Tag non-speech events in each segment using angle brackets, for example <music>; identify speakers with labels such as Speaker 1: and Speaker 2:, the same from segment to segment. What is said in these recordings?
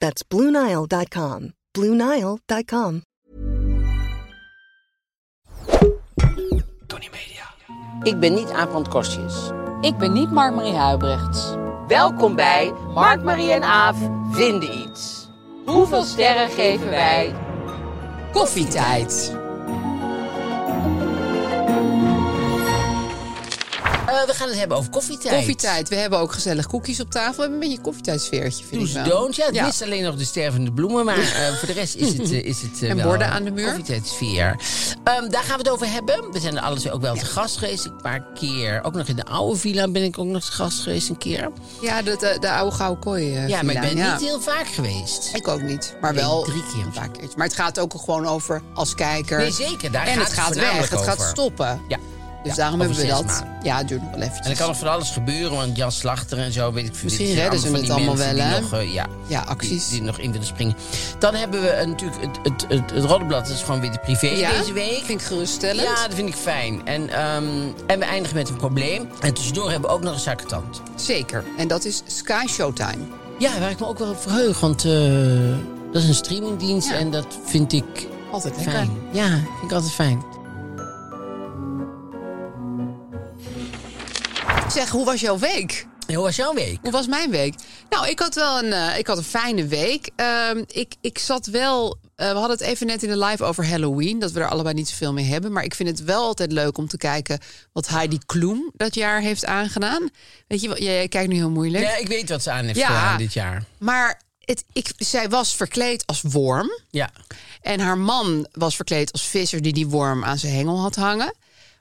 Speaker 1: That's BlueNile.com. BlueNile.com.
Speaker 2: Tony Media.
Speaker 3: Ik ben niet Aaf van het Kostjes.
Speaker 4: Ik ben niet Mark-Marie Huibrechts.
Speaker 3: Welkom bij Mark, Marie en Aaf vinden iets. Hoeveel sterren geven wij?
Speaker 4: Koffietijd.
Speaker 3: Eh, we gaan het hebben over koffietijd.
Speaker 4: Koffietijd. We hebben ook gezellig koekjes op tafel. We hebben een beetje koffietijdsfeertje, vind
Speaker 3: Do's
Speaker 4: ik wel.
Speaker 3: don'ts. Ja, het mist alleen nog de stervende bloemen.
Speaker 4: <laughs>
Speaker 3: Maar eh, voor de rest is het, eh, is het eh,
Speaker 4: En
Speaker 3: wel
Speaker 4: borden
Speaker 3: een
Speaker 4: aan de muur.
Speaker 3: koffietijdsfeer. Ehm, daar gaan we het over hebben. We zijn er alles ook wel te gast geweest. Een paar keer. Ook nog in de oude villa ben ik ook nog te gast geweest een keer.
Speaker 4: Ja, de, de, de oude gouden kooi eh,
Speaker 3: ja, maar ik
Speaker 4: villa,
Speaker 3: ben
Speaker 4: ja.
Speaker 3: niet heel vaak geweest.
Speaker 4: Ik ook niet, maar wel
Speaker 3: drie keer of
Speaker 4: een
Speaker 3: zo.
Speaker 4: paar keertjes. Maar het gaat ook gewoon over als kijker.
Speaker 3: Nee, zeker. Daar
Speaker 4: en
Speaker 3: gaat
Speaker 4: het
Speaker 3: het
Speaker 4: gaat weg,
Speaker 3: voornamelijk
Speaker 4: het gaat
Speaker 3: over.
Speaker 4: stoppen.
Speaker 3: Ja.
Speaker 4: Dus
Speaker 3: Ja,
Speaker 4: daarom
Speaker 3: over
Speaker 4: hebben we dat.
Speaker 3: zes maanden.
Speaker 4: Ja, het duurt nog wel eventjes.
Speaker 3: En dan kan er van alles gebeuren, want Jan Slachter en zo weet ik veel.
Speaker 4: Misschien
Speaker 3: Dit zijn
Speaker 4: redden ze
Speaker 3: van die
Speaker 4: het allemaal
Speaker 3: mensen
Speaker 4: wel,
Speaker 3: die
Speaker 4: hè?
Speaker 3: nog, eh, ja,
Speaker 4: Ja, acties.
Speaker 3: Die, die nog in willen springen. Dan hebben we eh, natuurlijk het, het, het, het Roddenblad, dat is gewoon weer de privé
Speaker 4: ja,
Speaker 3: deze week.
Speaker 4: Vind ik geruststellend.
Speaker 3: Ja, dat vind ik fijn. En, ehm, en we eindigen met een probleem. En tussendoor hebben we ook nog een zakentand.
Speaker 4: Zeker. En dat is Sky Showtime.
Speaker 3: Ja, waar ik me ook wel op verheug, want eh, dat is een streamingdienst
Speaker 4: Ja.
Speaker 3: en dat vind ik
Speaker 4: Altijd lekker.
Speaker 3: fijn. Ja, vind ik altijd fijn.
Speaker 4: Zeg, hoe was jouw week?
Speaker 3: En hoe was jouw week?
Speaker 4: Hoe was mijn week? Nou, ik had wel een, eh, ik had een fijne week. Ehm, ik, ik zat wel. eh, we hadden het even net in de live over Halloween. Dat we er allebei niet zoveel mee hebben. Maar ik vind het wel altijd leuk om te kijken wat Heidi Kloem dat jaar heeft aangedaan. Weet je wel, jij, jij kijkt nu heel moeilijk.
Speaker 3: Ja, ik weet wat ze aan heeft
Speaker 4: Ja.
Speaker 3: gedaan dit jaar.
Speaker 4: Maar het, ik, zij was verkleed als worm.
Speaker 3: Ja.
Speaker 4: En haar man was verkleed als visser die die worm aan zijn hengel had hangen.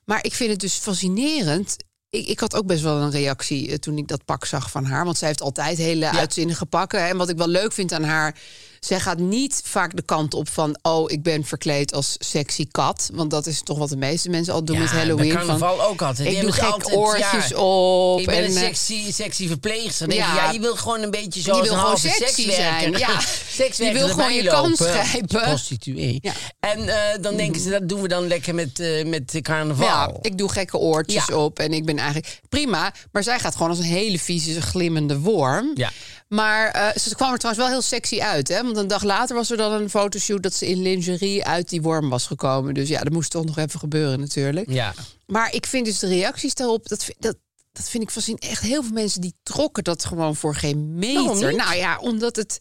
Speaker 4: Maar ik vind het dus fascinerend. Ik, ik had ook best wel een reactie eh, toen ik dat pak zag van haar. Want zij heeft altijd hele uitzinnige pakken. En wat ik wel leuk vind aan haar... zij gaat niet vaak de kant op van... oh, ik ben verkleed als sexy kat. Want dat is toch wat de meeste mensen al doen
Speaker 3: Ja,
Speaker 4: met
Speaker 3: bij
Speaker 4: Halloween.
Speaker 3: carnaval
Speaker 4: van,
Speaker 3: ook altijd. Die
Speaker 4: Ik doe
Speaker 3: hebben
Speaker 4: gek
Speaker 3: het altijd, ja.
Speaker 4: oortjes op.
Speaker 3: Ik ben een
Speaker 4: eh,
Speaker 3: sexy, sexy verpleegster. Dan denk
Speaker 4: Ja.
Speaker 3: je, Ja, je wil gewoon een beetje zo
Speaker 4: Je
Speaker 3: als
Speaker 4: wil
Speaker 3: een
Speaker 4: gewoon
Speaker 3: halve
Speaker 4: sexy
Speaker 3: sekswerker. <laughs>
Speaker 4: zijn, ja.
Speaker 3: Sekswerker
Speaker 4: Je wil gewoon
Speaker 3: erbij
Speaker 4: je kans
Speaker 3: lopen.
Speaker 4: grijpen.
Speaker 3: Prostituee.
Speaker 4: Ja.
Speaker 3: En eh, dan denken ze, dat doen we dan lekker met, eh, met de carnaval.
Speaker 4: Ja, ik doe gekke oortjes
Speaker 3: Ja.
Speaker 4: op en ik ben eigenlijk prima. Maar zij gaat gewoon als een hele vieze, glimmende worm.
Speaker 3: Ja.
Speaker 4: Maar eh, ze kwam er trouwens wel heel sexy uit. Hè? Want een dag later was er dan een fotoshoot dat ze in lingerie uit die worm was gekomen. Dus ja, dat moest toch nog even gebeuren natuurlijk.
Speaker 3: Ja.
Speaker 4: Maar ik vind dus de reacties daarop, dat, vind- dat, dat vind ik fascinerend. Echt heel veel mensen die trokken dat gewoon voor geen
Speaker 3: Waarom
Speaker 4: meter.
Speaker 3: niet?
Speaker 4: Nou ja, omdat het,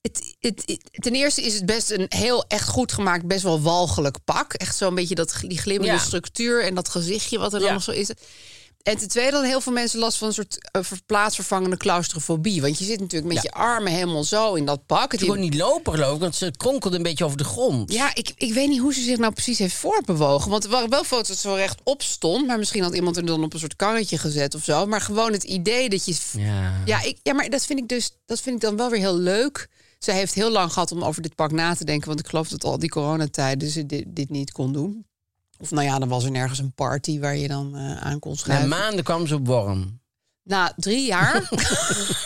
Speaker 4: het, het, het- Ten eerste is het best een heel echt goed gemaakt, best wel walgelijk pak. Echt zo'n beetje dat, gl- die glimmende
Speaker 3: Ja.
Speaker 4: structuur en dat gezichtje wat er dan
Speaker 3: Ja.
Speaker 4: nog zo is. En ten tweede hadden heel veel mensen last van een soort eh, ver- plaatsvervangende claustrofobie. Want je zit natuurlijk met
Speaker 3: Ja.
Speaker 4: je armen helemaal zo in dat pak. Het
Speaker 3: Ze kon niet lopen geloof ik, want ze kronkelde een beetje over de grond.
Speaker 4: ja, ik, ik weet niet hoe ze zich nou precies heeft voorbewogen. Want er waren wel foto's dat ze wel rechtop stond. Maar misschien had iemand er dan op een soort karretje gezet of zo. Maar gewoon het idee dat je...
Speaker 3: Ja.
Speaker 4: Ja, ik, ja maar dat vind ik dus dat vind ik dan wel weer heel leuk. Zij heeft heel lang gehad om over dit pak na te denken. Want ik geloof dat al die coronatijden ze dit, dit niet kon doen. Of nou ja, dan was er nergens een party waar je dan eh, aan kon
Speaker 3: Na
Speaker 4: schrijven.
Speaker 3: maanden kwam ze op worm.
Speaker 4: Na drie
Speaker 3: <laughs>
Speaker 4: jaar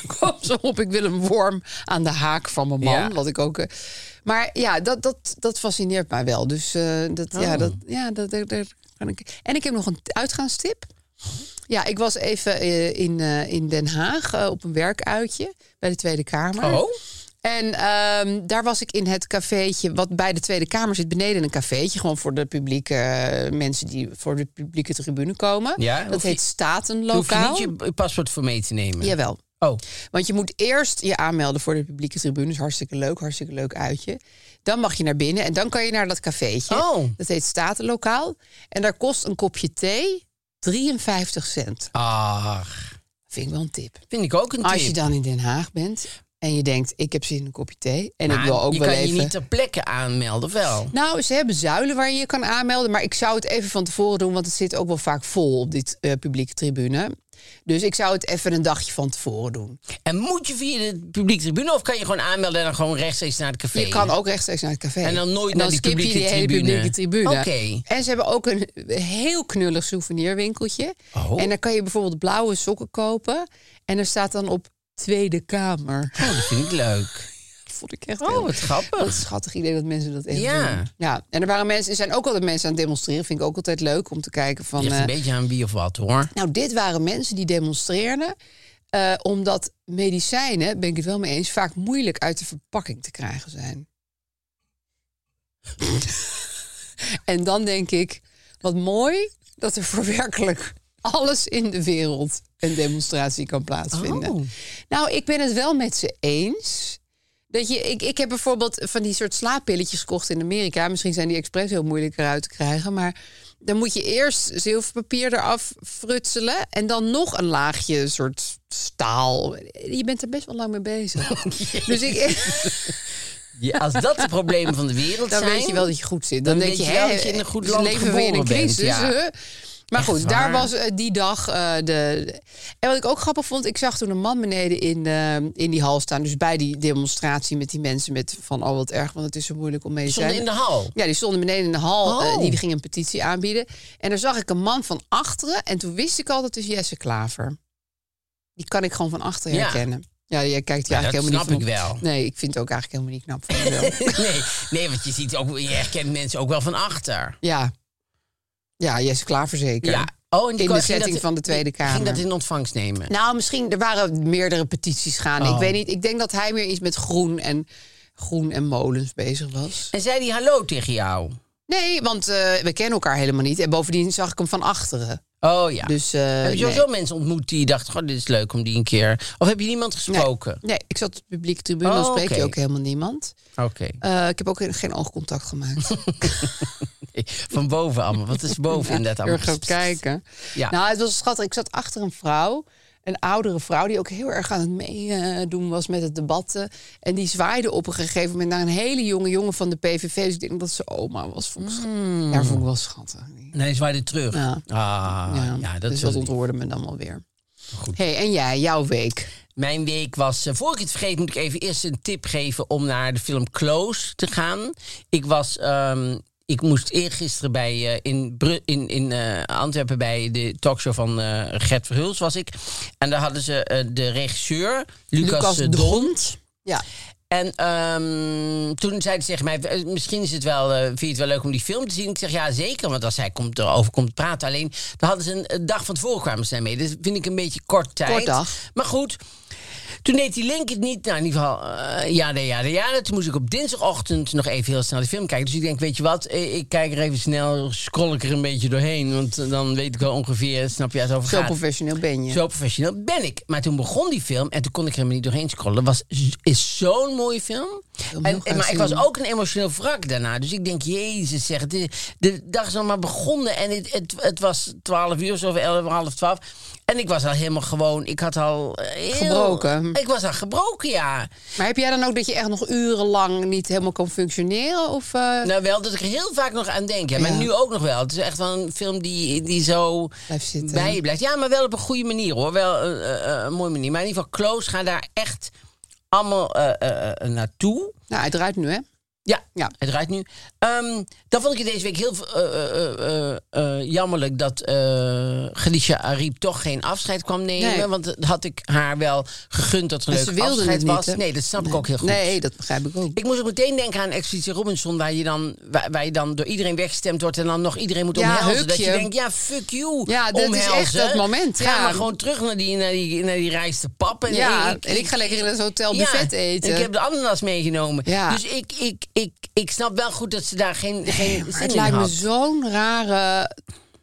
Speaker 4: kwam ze op. Ik wil een worm aan de haak van mijn man.
Speaker 3: Ja.
Speaker 4: Wat ik ook. eh, maar ja, dat, dat, dat fascineert mij wel. Dus eh, dat, ja,
Speaker 3: Oh.
Speaker 4: dat, ja, dat, daar- daar kan ik. En ik heb nog een uitgaanstip. Ja, ik was even eh, in, eh, in Den Haag eh, op een werkuitje bij de Tweede Kamer.
Speaker 3: Oh,
Speaker 4: En ehm, daar was ik in het cafeetje, wat bij de Tweede Kamer zit, beneden een cafeetje. Gewoon voor de publieke eh, mensen die voor de publieke tribune komen.
Speaker 3: Ja,
Speaker 4: dat
Speaker 3: hoef je-
Speaker 4: heet
Speaker 3: hoef je
Speaker 4: Statenlokaal.
Speaker 3: niet je paspoort voor mee te nemen.
Speaker 4: Jawel.
Speaker 3: Oké. Oh,
Speaker 4: Want je moet eerst je aanmelden voor de publieke tribune. Dus hartstikke leuk, hartstikke leuk uitje. Dan mag je naar binnen en dan kan je naar dat cafeetje.
Speaker 3: Oh.
Speaker 4: Dat heet Statenlokaal. En daar kost een kopje thee 53 cent.
Speaker 3: ach.
Speaker 4: Vind ik wel een tip.
Speaker 3: Vind ik ook een tip.
Speaker 4: Als je dan in Den Haag bent en je denkt, ik heb zin in een kopje thee. En ik
Speaker 3: Maar
Speaker 4: wil ook
Speaker 3: Nou, je
Speaker 4: wel
Speaker 3: kan
Speaker 4: even...
Speaker 3: je niet ter plekke aanmelden, of wel?
Speaker 4: Nou, ze hebben zuilen waar je je kan aanmelden. Maar ik zou het even van tevoren doen, want het zit ook wel vaak vol op dit eh, publieke tribune. Dus ik zou het even een dagje van tevoren doen.
Speaker 3: En moet je via de publieke tribune of kan je gewoon aanmelden en dan gewoon rechtstreeks naar het café?
Speaker 4: Je kan ook rechtstreeks naar het café.
Speaker 3: En dan nooit naar die
Speaker 4: skip je
Speaker 3: publieke
Speaker 4: die hele
Speaker 3: tribune.
Speaker 4: publieke tribune.
Speaker 3: Oké.
Speaker 4: En ze hebben ook een heel knullig souvenirwinkeltje.
Speaker 3: Oh.
Speaker 4: En dan kan je bijvoorbeeld blauwe sokken kopen. En er staat dan op Tweede Kamer.
Speaker 3: Oh, dat vind ik leuk.
Speaker 4: Dat vond ik echt
Speaker 3: Oh,
Speaker 4: heel-
Speaker 3: wat
Speaker 4: Wat een
Speaker 3: grappig.
Speaker 4: schattig idee dat mensen dat echt
Speaker 3: Ja.
Speaker 4: doen. Ja. En er waren mensen, er zijn ook altijd mensen aan het demonstreren. Vind ik ook altijd leuk om te kijken van...
Speaker 3: Je hebt een
Speaker 4: eh,
Speaker 3: beetje aan wie of wat, hoor.
Speaker 4: Nou, dit waren mensen die demonstreerden. eh, omdat medicijnen, ben ik het wel mee eens, vaak moeilijk uit de verpakking te krijgen zijn. <laughs> en dan denk ik, wat mooi dat er voor werkelijk alles in de wereld een demonstratie kan plaatsvinden.
Speaker 3: Oh.
Speaker 4: Nou, ik ben het wel met ze eens. Dat je, ik, ik heb bijvoorbeeld van die soort slaappilletjes gekocht in Amerika. Misschien zijn die expres heel moeilijk eruit te krijgen. Maar dan moet je eerst zilverpapier eraf frutselen. En dan nog een laagje soort staal. Je bent er best wel lang mee bezig. dus ik,
Speaker 3: Ja, als dat de problemen van de wereld
Speaker 4: dan
Speaker 3: zijn...
Speaker 4: weet je wel dat je
Speaker 3: <laughs>
Speaker 4: goed zit.
Speaker 3: dan
Speaker 4: Dan,
Speaker 3: weet
Speaker 4: denk je,
Speaker 3: je wel
Speaker 4: hè,
Speaker 3: dat je in een goed
Speaker 4: dus
Speaker 3: land
Speaker 4: leven we in een
Speaker 3: geboren bent,
Speaker 4: crisis.
Speaker 3: ja.
Speaker 4: hè? Maar
Speaker 3: Echt
Speaker 4: goed, daar
Speaker 3: waar.
Speaker 4: was eh, die dag eh, de. En wat ik ook grappig vond, ik zag toen een man beneden in, eh, in die hal staan. Dus bij die demonstratie met die mensen met van al wat erg, want het is zo moeilijk om mee te
Speaker 3: Stonden
Speaker 4: zijn.
Speaker 3: in de hal.
Speaker 4: Ja, die stonden beneden in de hal. eh,
Speaker 3: Oh.
Speaker 4: die gingen een petitie aanbieden. En daar zag ik een man van achteren. En toen wist ik al dat is Jesse Klaver. Die kan ik gewoon van achteren
Speaker 3: Ja.
Speaker 4: herkennen. Ja, jij kijkt je
Speaker 3: Ja, dat
Speaker 4: eigenlijk helemaal
Speaker 3: snap
Speaker 4: niet.
Speaker 3: ik
Speaker 4: van-
Speaker 3: wel.
Speaker 4: Nee, ik vind het ook eigenlijk helemaal niet knap van
Speaker 3: <laughs>
Speaker 4: mezelf.
Speaker 3: Nee, nee, want je ziet ook, je herkent mensen ook wel van achter.
Speaker 4: Ja. Ja, Jesse Klaver zeker.
Speaker 3: Ja. Oh, en
Speaker 4: In de
Speaker 3: kon- ging
Speaker 4: setting van de Tweede Kamer.
Speaker 3: Ging dat in ontvangst nemen?
Speaker 4: Nou, misschien, er waren meerdere petities gaande.
Speaker 3: Oh.
Speaker 4: Ik weet niet, ik denk dat hij meer iets met groen en, groen en molens bezig was.
Speaker 3: En zei die hallo tegen jou?
Speaker 4: Nee, want eh, we kennen elkaar helemaal niet. En bovendien zag ik hem van achteren.
Speaker 3: Oh ja.
Speaker 4: Dus, eh,
Speaker 3: heb je
Speaker 4: nee.
Speaker 3: sowieso mensen ontmoet die dachten, goh, dit is leuk om die een keer... Of heb je niemand gesproken?
Speaker 4: Nee, ik zat op de publieke tribune, dan
Speaker 3: Oh,
Speaker 4: spreek
Speaker 3: oké.
Speaker 4: je ook helemaal niemand.
Speaker 3: Oké. <laughs>
Speaker 4: Eh, ik heb ook geen oogcontact gemaakt.
Speaker 3: Van boven allemaal. Wat is boven inderdaad allemaal?
Speaker 4: Heel gaan kijken.
Speaker 3: Ja.
Speaker 4: Nou, het was schattig. Ik zat achter een vrouw. Een oudere vrouw die ook heel erg aan het meedoen was met het debat. eh, En die zwaaide op een gegeven moment naar een hele jonge jongen van de PVV. Dus ik denk dat ze oma was. Vond ik schat-
Speaker 3: Hmm.
Speaker 4: Ja, vond ik wel schattig.
Speaker 3: Nee, zwaaide terug.
Speaker 4: Ja.
Speaker 3: Ah, ja, dat
Speaker 4: dus
Speaker 3: is
Speaker 4: dat
Speaker 3: wel lief.
Speaker 4: ontroerde me dan wel weer. hey, en jij, jouw week.
Speaker 3: Mijn week was, eh, voor ik het vergeet, moet ik even eerst een tip geven om naar de film Close te gaan. Ik was, ehm, ik moest eergisteren bij, eh, in, Bru- in, in eh, Antwerpen bij de talkshow van eh Gert Verhulst was ik. En daar hadden ze eh, de regisseur, Lucas,
Speaker 4: Lucas
Speaker 3: eh,
Speaker 4: de
Speaker 3: Don.
Speaker 4: Hond. Ja.
Speaker 3: En ehm, toen zei ze tegen mij, eh, misschien is het wel, eh, vind je het wel leuk om die film te zien? Ik zeg, ja zeker, want als hij komt, erover komt praten. Alleen, dan hadden ze een, eh, dag van tevoren kwamen ze daarmee. Dat vind ik een beetje kort tijd.
Speaker 4: Kort dag.
Speaker 3: Maar goed, toen deed die link het niet. Nou, in ieder geval, eh, ja, nee, ja, nee, ja. nee. Toen moest ik op dinsdagochtend nog even heel snel de film kijken. Dus ik denk, weet je wat, eh, ik kijk er even snel, scroll ik er een beetje doorheen. Want eh, dan weet ik wel ongeveer, snap je, waar het over
Speaker 4: Zo
Speaker 3: gaat.
Speaker 4: professioneel ben je.
Speaker 3: Zo professioneel ben ik. Maar toen begon die film en toen kon ik er helemaal niet doorheen scrollen. Was, is zo'n mooie film.
Speaker 4: wil hem
Speaker 3: En,
Speaker 4: heel graag
Speaker 3: en- maar ik was
Speaker 4: zien.
Speaker 3: ook een emotioneel wrak daarna. Dus ik denk, jezus zeg, de, de dag is al maar begonnen. En het, het, het was twaalf uur, zo of elf, half twaalf. En ik was al helemaal gewoon, ik had al... eh, heel-
Speaker 4: Gebroken.
Speaker 3: Ik was al gebroken, ja.
Speaker 4: Maar heb jij dan ook dat je echt nog urenlang niet helemaal kan functioneren? Of, eh,
Speaker 3: Nou, wel dat ik er heel vaak nog aan denk. Ja, maar
Speaker 4: Ja.
Speaker 3: nu ook nog wel. Het is echt wel een film die, die zo
Speaker 4: Blijft zitten.
Speaker 3: bij je blijft. Ja, maar wel op een goede manier hoor. Wel eh, eh, eh, een mooie manier. Maar in ieder geval, Kloos gaat daar echt allemaal eh, eh, eh, naartoe.
Speaker 4: Nou, het draait nu, hè?
Speaker 3: Ja,
Speaker 4: Ja.
Speaker 3: het draait nu. Ehm, dan vond ik het deze week heel eh, eh, eh, eh, eh, jammerlijk dat eh Khadija Ariep toch geen afscheid kwam nemen.
Speaker 4: Nee.
Speaker 3: Want dat had ik haar wel gegund dat er
Speaker 4: En
Speaker 3: een
Speaker 4: ze
Speaker 3: leuk
Speaker 4: wilde
Speaker 3: afscheid
Speaker 4: het niet,
Speaker 3: was.
Speaker 4: hè?
Speaker 3: nee, dat snap ik ook heel goed.
Speaker 4: Nee, dat begrijp ik ook.
Speaker 3: Ik moest ook meteen denken aan Expeditie Robinson, waar je, dan, waar, waar je dan door iedereen weggestemd wordt en dan nog iedereen moet
Speaker 4: Ja,
Speaker 3: omhelzen. Dat je
Speaker 4: hukje.
Speaker 3: denkt, ja, fuck you.
Speaker 4: Ja, dat is
Speaker 3: omhelzen.
Speaker 4: echt dat moment,
Speaker 3: Ja,
Speaker 4: ja.
Speaker 3: maar gewoon terug naar die, naar die, naar die reis te pap. En
Speaker 4: Ja, en ik ga lekker in het hotel
Speaker 3: ja,
Speaker 4: buffet eten.
Speaker 3: en ik heb de ananas meegenomen.
Speaker 4: Ja.
Speaker 3: Dus ik, ik, ik, ik snap wel goed dat ze daar geen, geen
Speaker 4: Maar
Speaker 3: zin
Speaker 4: het
Speaker 3: in
Speaker 4: lijkt me
Speaker 3: had.
Speaker 4: zo'n rare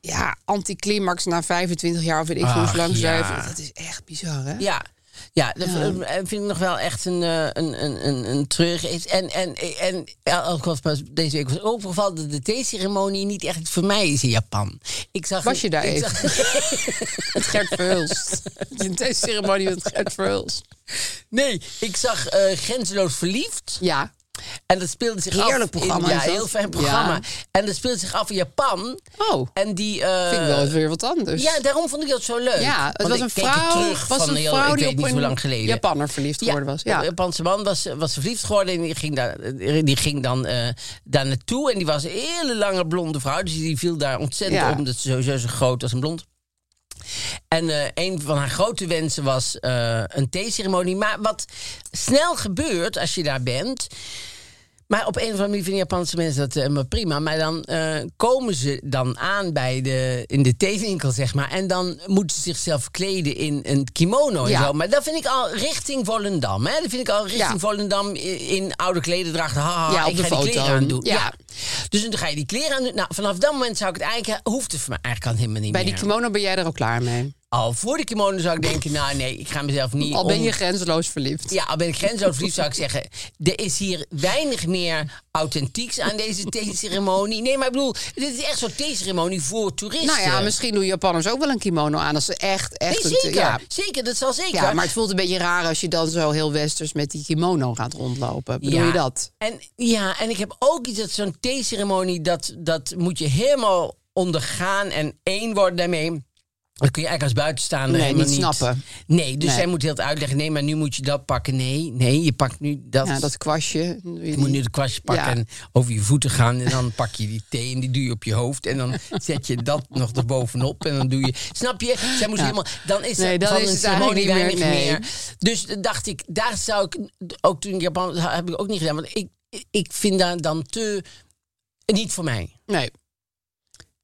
Speaker 4: ja, anticlimax na 25 jaar of weet ik veel
Speaker 3: Ach,
Speaker 4: hoe lang ze
Speaker 3: ja.
Speaker 4: daar heeft- Dat is echt bizar, hè?
Speaker 3: Ja. Ja, dat v- eh, vind ik nog wel echt een, eh, een, een, een, een treurig iets. En, en, en ja, ook was pas deze week was overgevallen dat de theeceremonie niet echt voor mij is in Japan. Ik zag,
Speaker 4: Was je daar
Speaker 3: ik zag- <laughs>
Speaker 4: Met Gert <laughs> Verhulst. In deze ceremonie met Gert Verhulst.
Speaker 3: nee, ik zag eh Grenzeloos Verliefd.
Speaker 4: Ja.
Speaker 3: En dat speelde zich af.
Speaker 4: Heerlijk programma
Speaker 3: In, ja,
Speaker 4: is dat.
Speaker 3: heel fijn programma.
Speaker 4: Ja.
Speaker 3: En dat speelde zich af in Japan.
Speaker 4: Oh,
Speaker 3: En die. eh,
Speaker 4: vind ik wel weer wat anders.
Speaker 3: ja, daarom vond ik dat zo leuk.
Speaker 4: Ja, het
Speaker 3: Want
Speaker 4: was
Speaker 3: ik
Speaker 4: een
Speaker 3: keek het
Speaker 4: vrouw,
Speaker 3: terug
Speaker 4: was
Speaker 3: van
Speaker 4: een
Speaker 3: heel-
Speaker 4: vrouw
Speaker 3: ik
Speaker 4: die
Speaker 3: weet
Speaker 4: op
Speaker 3: niet hoe
Speaker 4: een
Speaker 3: lang geleden.
Speaker 4: Japanner verliefd geworden was. Ja.
Speaker 3: Een Japanse man was, was verliefd geworden en die ging daar, die ging dan, eh, daar naartoe. En die was een hele lange blonde vrouw, dus die viel daar ontzettend
Speaker 4: Ja.
Speaker 3: om. Dat ze sowieso zo groot als een blond. En eh, een van haar grote wensen was eh, een theeceremonie. Maar wat snel gebeurt als je daar bent... Maar op een of andere manier vinden Japanse mensen dat eh, maar prima. Maar dan eh, komen ze dan aan bij de, in de theewinkel, zeg maar. En dan moeten ze zichzelf kleden in een kimono en
Speaker 4: Ja.
Speaker 3: zo. Maar dat vind ik al richting Volendam. Hè? Dat vind ik al richting
Speaker 4: Ja.
Speaker 3: Volendam in, in oude klederdracht. Haha,
Speaker 4: Ja, op
Speaker 3: ik
Speaker 4: de
Speaker 3: ga
Speaker 4: foto.
Speaker 3: die kleren aan doen.
Speaker 4: Ja.
Speaker 3: Dus dan ga je die kleren aan doen. Nou, vanaf dat moment zou ik het eigenlijk... Hoeft het voor mij eigenlijk al helemaal niet
Speaker 4: Bij
Speaker 3: meer.
Speaker 4: die kimono ben jij er al klaar mee.
Speaker 3: Al voor de kimono zou ik denken, nou nee, ik ga mezelf niet...
Speaker 4: Al ben
Speaker 3: om-
Speaker 4: je grenzeloos verliefd.
Speaker 3: ja, al ben ik grensoverliefd, zou ik zeggen... er is hier weinig meer authentieks aan deze theeceremonie. Nee, maar ik bedoel, dit is echt zo'n theeceremonie voor toeristen.
Speaker 4: Nou ja, misschien doen Japanners ook wel een kimono aan als ze echt,
Speaker 3: Nee,
Speaker 4: echt... een-
Speaker 3: zeker,
Speaker 4: ja.
Speaker 3: zeker, dat zal zeker.
Speaker 4: ja, maar het voelt een beetje raar als je dan zo heel westers met die kimono gaat rondlopen. Bedoel
Speaker 3: Ja.
Speaker 4: je dat?
Speaker 3: En, ja, en ik heb ook iets dat zo'n theeceremonie, dat, dat moet je helemaal ondergaan en één worden daarmee. Dat kun je eigenlijk als buitenstaander
Speaker 4: Nee,
Speaker 3: helemaal
Speaker 4: niet snappen.
Speaker 3: Nee, dus
Speaker 4: Nee.
Speaker 3: zij moet heel het uitleggen. Nee, maar nu moet je dat pakken. Nee, nee, je pakt nu dat.
Speaker 4: Ja, dat kwastje. doe je
Speaker 3: Je moet
Speaker 4: niet.
Speaker 3: nu de kwastje pakken
Speaker 4: Ja.
Speaker 3: en over je voeten gaan. En dan pak je die thee en die doe je op je hoofd. En dan zet je dat nog erbovenop. En dan doe je. Snap je? Zij moest
Speaker 4: Ja.
Speaker 3: helemaal. Dan is er
Speaker 4: Nee, dan
Speaker 3: van
Speaker 4: is
Speaker 3: een
Speaker 4: het
Speaker 3: ceremonie
Speaker 4: eigenlijk niet meer,
Speaker 3: weinig meer.
Speaker 4: nee.
Speaker 3: Dus eh, dacht ik, daar zou ik. Ook toen in Japan heb ik ook niet gedaan. Want ik, ik vind daar dan te. Niet voor mij.
Speaker 4: Nee,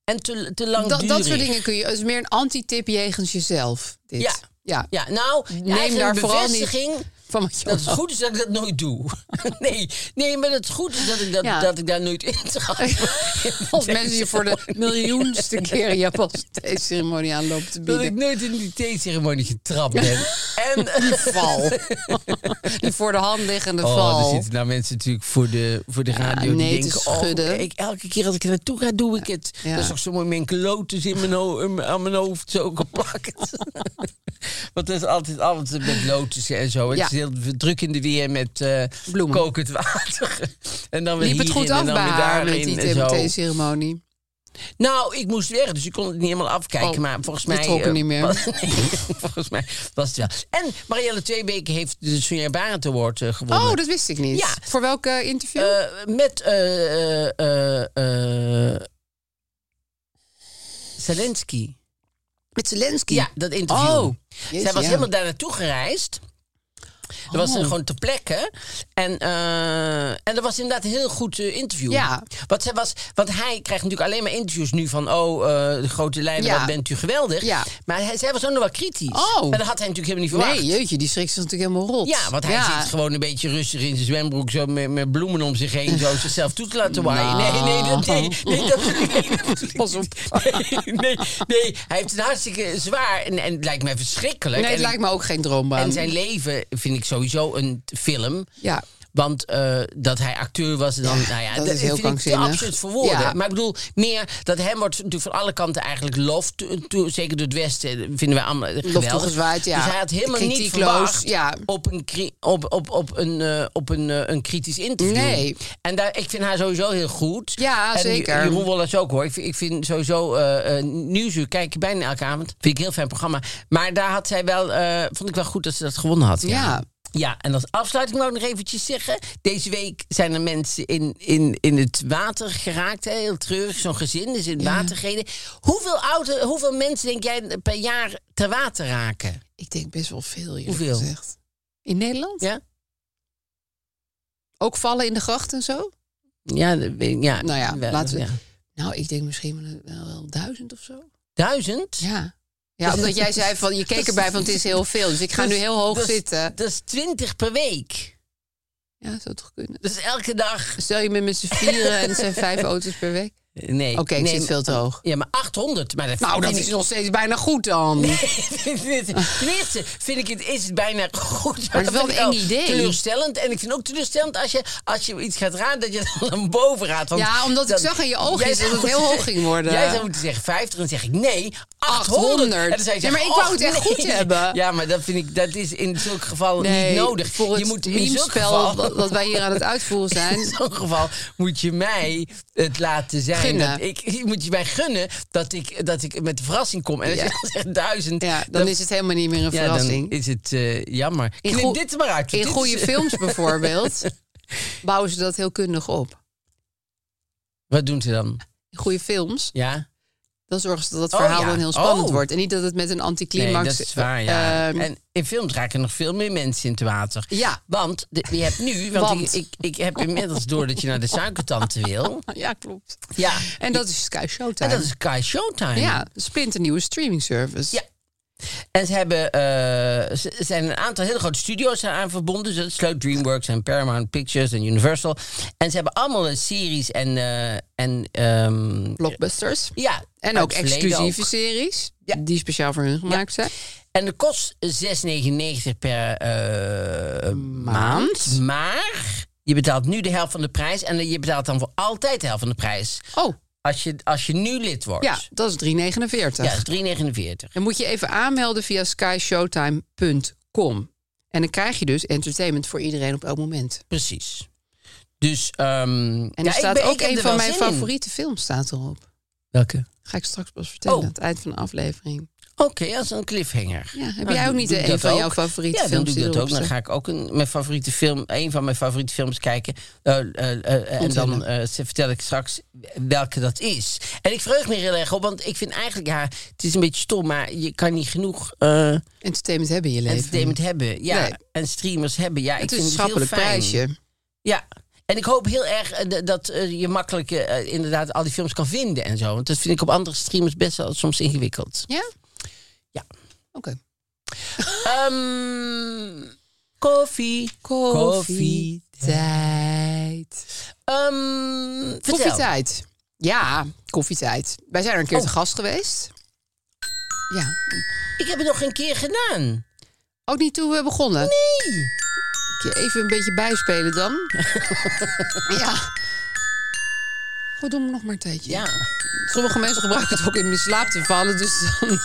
Speaker 3: En te, te lang.
Speaker 4: dat, dat soort dingen kun je... Het is meer een anti-tip jegens jezelf. Dit.
Speaker 3: Ja.
Speaker 4: ja.
Speaker 3: Ja, nou,
Speaker 4: Neem
Speaker 3: eigenlijk
Speaker 4: daar
Speaker 3: een
Speaker 4: vooral niet- Oh.
Speaker 3: bevestiging.
Speaker 4: Van wat je
Speaker 3: Dat het
Speaker 4: <laughs> al-
Speaker 3: goed is dat ik dat nooit doe. <laughs> Nee, nee maar dat het goed is dat ik, dat,
Speaker 4: Ja.
Speaker 3: dat ik daar nooit in
Speaker 4: <laughs>
Speaker 3: trap.
Speaker 4: Als mensen je
Speaker 3: <laughs>
Speaker 4: voor de miljoenste keer in Japanse theeceremonie aan lopen te
Speaker 3: Dat ik
Speaker 4: bieden.
Speaker 3: nooit in die theeceremonie getrapt
Speaker 4: <laughs>
Speaker 3: ben. en die
Speaker 4: Val. <laughs> Die voor de hand liggende
Speaker 3: Oh, er
Speaker 4: val.
Speaker 3: zitten nou mensen natuurlijk voor de, voor de radio
Speaker 4: nee,
Speaker 3: die
Speaker 4: te
Speaker 3: denken... Oh,
Speaker 4: schudden.
Speaker 3: ik, elke keer als ik er naartoe ga, doe ik het.
Speaker 4: Ja.
Speaker 3: Dat is toch zo mooi mijn lotus in mijn ho- in mijn- aan mijn hoofd zo
Speaker 4: <laughs>
Speaker 3: geplakt. Want dat is altijd alles met lotussen en zo.
Speaker 4: Ja.
Speaker 3: Het is heel druk in de weer met eh
Speaker 4: Bloemen.
Speaker 3: kokend water. <laughs> en dan weer
Speaker 4: Liep het
Speaker 3: hierin
Speaker 4: goed
Speaker 3: en
Speaker 4: af
Speaker 3: dan
Speaker 4: bij
Speaker 3: weer
Speaker 4: haar met
Speaker 3: daarin
Speaker 4: die
Speaker 3: en zo.
Speaker 4: TMT-ceremonie?
Speaker 3: Nou, ik moest weg, dus ik kon het niet helemaal afkijken.
Speaker 4: Oh,
Speaker 3: maar volgens
Speaker 4: je
Speaker 3: mij...
Speaker 4: trok er
Speaker 3: eh,
Speaker 4: niet meer.
Speaker 3: was- <laughs> nee, volgens mij was het wel. En Marielle Tweebeke heeft de Sonja Barend Award eh, gewonnen.
Speaker 4: Oh, dat wist ik niet.
Speaker 3: Ja.
Speaker 4: Voor welke interview?
Speaker 3: Eh, met... eh, eh, eh, eh, Zelensky.
Speaker 4: met Zelensky.
Speaker 3: Ja, dat interview.
Speaker 4: Oh,
Speaker 3: Zij
Speaker 4: jeetje,
Speaker 3: was
Speaker 4: ja.
Speaker 3: helemaal daar naartoe gereisd. Dat was eh,
Speaker 4: Oh.
Speaker 3: gewoon ter plekke. En, eh, en dat was inderdaad een heel goed eh, interview.
Speaker 4: Ja.
Speaker 3: Wat zij was, want hij krijgt natuurlijk alleen maar interviews nu van... oh, eh, de grote leider,
Speaker 4: Ja.
Speaker 3: wat bent u geweldig.
Speaker 4: Ja.
Speaker 3: Maar hij, zij was ook nog wel kritisch.
Speaker 4: Oh.
Speaker 3: En dat had hij natuurlijk helemaal niet verwacht.
Speaker 4: Nee, jeetje, die schrikt zich natuurlijk helemaal rot.
Speaker 3: Ja, want hij zit gewoon een beetje rustig in zijn zwembroek... zo met, met bloemen om zich heen, zo zichzelf toe te laten waaien.
Speaker 4: Nou.
Speaker 3: Nee, nee, dat, nee, nee, dat, nee, dat-
Speaker 4: Pas op.
Speaker 3: Nee, nee, nee, hij heeft het hartstikke zwaar en, en het lijkt mij verschrikkelijk.
Speaker 4: Nee, het
Speaker 3: En ik-
Speaker 4: lijkt me ook geen droombaan.
Speaker 3: en zijn leven vind ik sowieso een t- film.
Speaker 4: Ja.
Speaker 3: Want eh, dat hij acteur was, en dan,
Speaker 4: Ja,
Speaker 3: nou ja,
Speaker 4: dat
Speaker 3: dat
Speaker 4: is heel
Speaker 3: vind ik te
Speaker 4: krankzinnig.
Speaker 3: absurd voor woorden.
Speaker 4: Ja.
Speaker 3: Maar ik bedoel, meer dat hem wordt natuurlijk van alle kanten eigenlijk lof. to- to- zeker door het Westen vinden wij allemaal geweldig.
Speaker 4: toegezwaaid, ja.
Speaker 3: Dus hij had helemaal niet
Speaker 4: Kritiekloos,
Speaker 3: verwacht
Speaker 4: ja.
Speaker 3: op, een, cri- op, op, op, een, eh, op een, eh, een kritisch interview.
Speaker 4: Nee.
Speaker 3: En daar, ik vind haar sowieso heel goed.
Speaker 4: Ja,
Speaker 3: en
Speaker 4: zeker.
Speaker 3: Jeroen Wollers ook hoor. Ik vind, ik vind sowieso eh eh, Nieuwsuur, kijk ik bijna elke avond. Vind ik een heel fijn programma. Maar daar had zij wel, eh, vond ik wel goed dat ze dat gewonnen had.
Speaker 4: Ja.
Speaker 3: Ja, en als afsluiting wou ik nog eventjes zeggen. Deze week zijn er mensen in, in, in het water geraakt. Hè? Heel treurig, zo'n gezin is in het water gereden. Hoeveel, oude, hoeveel mensen denk jij per jaar te water raken?
Speaker 4: Ik denk best wel veel, eerlijk
Speaker 3: Hoeveel?
Speaker 4: gezegd. In Nederland?
Speaker 3: Ja?
Speaker 4: Ook vallen in de gracht en zo?
Speaker 3: Ja, dat weet ik- ja.
Speaker 4: Nou ja,
Speaker 3: wel,
Speaker 4: laten we-
Speaker 3: ja.
Speaker 4: Nou, ik denk misschien wel- wel, wel duizend of zo.
Speaker 3: Duizend?
Speaker 4: Ja. Ja,
Speaker 3: Dus-
Speaker 4: omdat jij zei van je keek erbij van het is heel veel. Dus ik ga
Speaker 3: Dat
Speaker 4: nu
Speaker 3: is-
Speaker 4: heel hoog
Speaker 3: dat is-
Speaker 4: zitten.
Speaker 3: Dat is twintig per week.
Speaker 4: Ja, zou toch kunnen. Dus
Speaker 3: Dat is elke dag. <laughs>
Speaker 4: Stel je met z'n vieren en het zijn vijf auto's per week.
Speaker 3: Nee.
Speaker 4: Oké, ik
Speaker 3: nee,
Speaker 4: zit veel te hoog.
Speaker 3: Ja, maar 800. Maar dat
Speaker 4: Nou,
Speaker 3: vind
Speaker 4: dat
Speaker 3: ik
Speaker 4: is
Speaker 3: niet-
Speaker 4: nog steeds bijna goed dan.
Speaker 3: <laughs> Tenminste, vind ik het, is het bijna goed.
Speaker 4: Maar het is
Speaker 3: Dat
Speaker 4: wel
Speaker 3: vind ik
Speaker 4: een eng
Speaker 3: al
Speaker 4: idee.
Speaker 3: Teleurstellend. En ik vind ook teleurstellend als je, als je iets gaat raden, dat je dan naar boven raadt. Want
Speaker 4: Ja, omdat ik
Speaker 3: dan-
Speaker 4: zag in je ogen
Speaker 3: Jij
Speaker 4: dat
Speaker 3: zou
Speaker 4: het heel
Speaker 3: moeten
Speaker 4: hoog ging worden.
Speaker 3: Jij zou moeten zeggen 50, en dan zeg ik nee, 800.
Speaker 4: 800.
Speaker 3: En dan zou je
Speaker 4: Ja,
Speaker 3: zeggen,
Speaker 4: maar ik wou
Speaker 3: "Och,
Speaker 4: het echt
Speaker 3: nee."
Speaker 4: goed hebben.
Speaker 3: Ja, maar dat vind ik, dat is in zulke gevallen
Speaker 4: Nee,
Speaker 3: niet nodig.
Speaker 4: Voor het
Speaker 3: je moet in zulk
Speaker 4: memespel
Speaker 3: geval,
Speaker 4: dat dat wij hier aan het uitvoeren
Speaker 3: <laughs> in
Speaker 4: zijn.
Speaker 3: zo'n geval moet je mij het laten zijn.
Speaker 4: Gunnen.
Speaker 3: Dat ik, je moet je mij gunnen dat ik, dat ik met de verrassing kom. En als
Speaker 4: Ja.
Speaker 3: je dan zegt duizend,
Speaker 4: Ja, dan is het helemaal niet meer een
Speaker 3: ja,
Speaker 4: verrassing.
Speaker 3: dan is het eh, jammer.
Speaker 4: In
Speaker 3: Knip
Speaker 4: goe-
Speaker 3: dit er maar uit. want
Speaker 4: In
Speaker 3: dit
Speaker 4: goede
Speaker 3: is- <laughs>
Speaker 4: films bijvoorbeeld bouwen ze dat heel kundig op.
Speaker 3: Wat doen ze dan?
Speaker 4: In goede films,
Speaker 3: Ja,
Speaker 4: dan zorgen ze dat
Speaker 3: Oh,
Speaker 4: dat verhaal
Speaker 3: ja.
Speaker 4: dan heel spannend
Speaker 3: Oh.
Speaker 4: wordt. En niet dat het met een
Speaker 3: nee,
Speaker 4: anticlimax...
Speaker 3: dat is waar. Ja.
Speaker 4: ehm,
Speaker 3: en in films raken nog veel meer mensen in het water.
Speaker 4: ja.
Speaker 3: Want de- je hebt nu, want,
Speaker 4: Want.
Speaker 3: Ik, ik, ik heb inmiddels door dat je naar de suikertante wil.
Speaker 4: oh ja, klopt.
Speaker 3: Ja,
Speaker 4: En dat is Sky
Speaker 3: en
Speaker 4: Showtime.
Speaker 3: dat is Kai Showtime.
Speaker 4: Ja, een splinternieuwe streaming service.
Speaker 3: Ja. En ze hebben, eh, ze- er zijn een aantal hele grote studio's aan verbonden. Dus dat sluit DreamWorks en Paramount Pictures en Universal. En ze hebben allemaal een series en... eh, en ehm,
Speaker 4: Blockbusters.
Speaker 3: ja,
Speaker 4: En
Speaker 3: uit
Speaker 4: ook
Speaker 3: het verleden
Speaker 4: exclusieve
Speaker 3: ook.
Speaker 4: series.
Speaker 3: Ja.
Speaker 4: Die speciaal voor hun gemaakt zijn.
Speaker 3: En dat kost 6,99 per eh, maand. Maar je betaalt nu de helft van de prijs. En je betaalt dan voor altijd de helft van de prijs.
Speaker 4: Oh,
Speaker 3: Als je, als je nu lid wordt.
Speaker 4: ja, dat is 3,49.
Speaker 3: Ja, dus dat is 3,49.
Speaker 4: Dan moet je even aanmelden via skyshowtime.com. En dan krijg je dus entertainment voor iedereen op elk moment.
Speaker 3: Precies. Dus, ehm
Speaker 4: En
Speaker 3: ja,
Speaker 4: er
Speaker 3: ik
Speaker 4: staat
Speaker 3: ben- ik
Speaker 4: ook
Speaker 3: heb
Speaker 4: een
Speaker 3: er
Speaker 4: van
Speaker 3: wel
Speaker 4: mijn
Speaker 3: zin in.
Speaker 4: favoriete films staat erop.
Speaker 3: Welke?
Speaker 4: Ga ik straks pas vertellen,
Speaker 3: Oh.
Speaker 4: aan het eind van de aflevering.
Speaker 3: Oké, als een cliffhanger.
Speaker 4: Ja, heb
Speaker 3: Nou,
Speaker 4: jij ook
Speaker 3: doe-
Speaker 4: niet eh,
Speaker 3: doe
Speaker 4: een
Speaker 3: ik dat
Speaker 4: van jouw
Speaker 3: ook?
Speaker 4: favoriete
Speaker 3: ja,
Speaker 4: films
Speaker 3: dan doe
Speaker 4: die
Speaker 3: ik dat
Speaker 4: erop
Speaker 3: ook. Dan
Speaker 4: staat?
Speaker 3: ga ik ook een, mijn favoriete film, een van mijn favoriete films kijken. Eh, eh, eh, en
Speaker 4: Onthullen.
Speaker 3: dan eh, ze- vertel ik straks welke dat is. En ik verheug me er heel erg op, want ik vind eigenlijk, ja, het is een beetje stom, maar je kan niet genoeg eh
Speaker 4: Entertainment hebben in je leven.
Speaker 3: entertainment hebben. Ja,
Speaker 4: Nee.
Speaker 3: en streamers hebben. Ja, ik
Speaker 4: Het is
Speaker 3: vind
Speaker 4: een
Speaker 3: het heel
Speaker 4: schappelijk
Speaker 3: fijn.
Speaker 4: prijsje.
Speaker 3: Ja. En ik hoop heel erg eh, d- dat eh, je makkelijk eh, inderdaad al die films kan vinden en zo. Want dat vind ik op andere streamers best wel soms ingewikkeld.
Speaker 4: Ja?
Speaker 3: Ja.
Speaker 4: Oké.
Speaker 3: Ehm, koffie.
Speaker 4: Koffietijd.
Speaker 3: Ehm, vertel. Oh.
Speaker 4: Koffietijd. Ja, koffietijd. Wij zijn er een keer te gast geweest. Ja.
Speaker 3: Ik heb het nog een keer gedaan.
Speaker 4: Ook niet toen we begonnen.
Speaker 3: Nee.
Speaker 4: Ik je Even een beetje bijspelen dan.
Speaker 3: <laughs>
Speaker 4: ja. Goed, doe me nog maar een tijdje.
Speaker 3: Ja.
Speaker 4: Sommige mensen gebruiken het ook in hun slaap te vallen, dus dan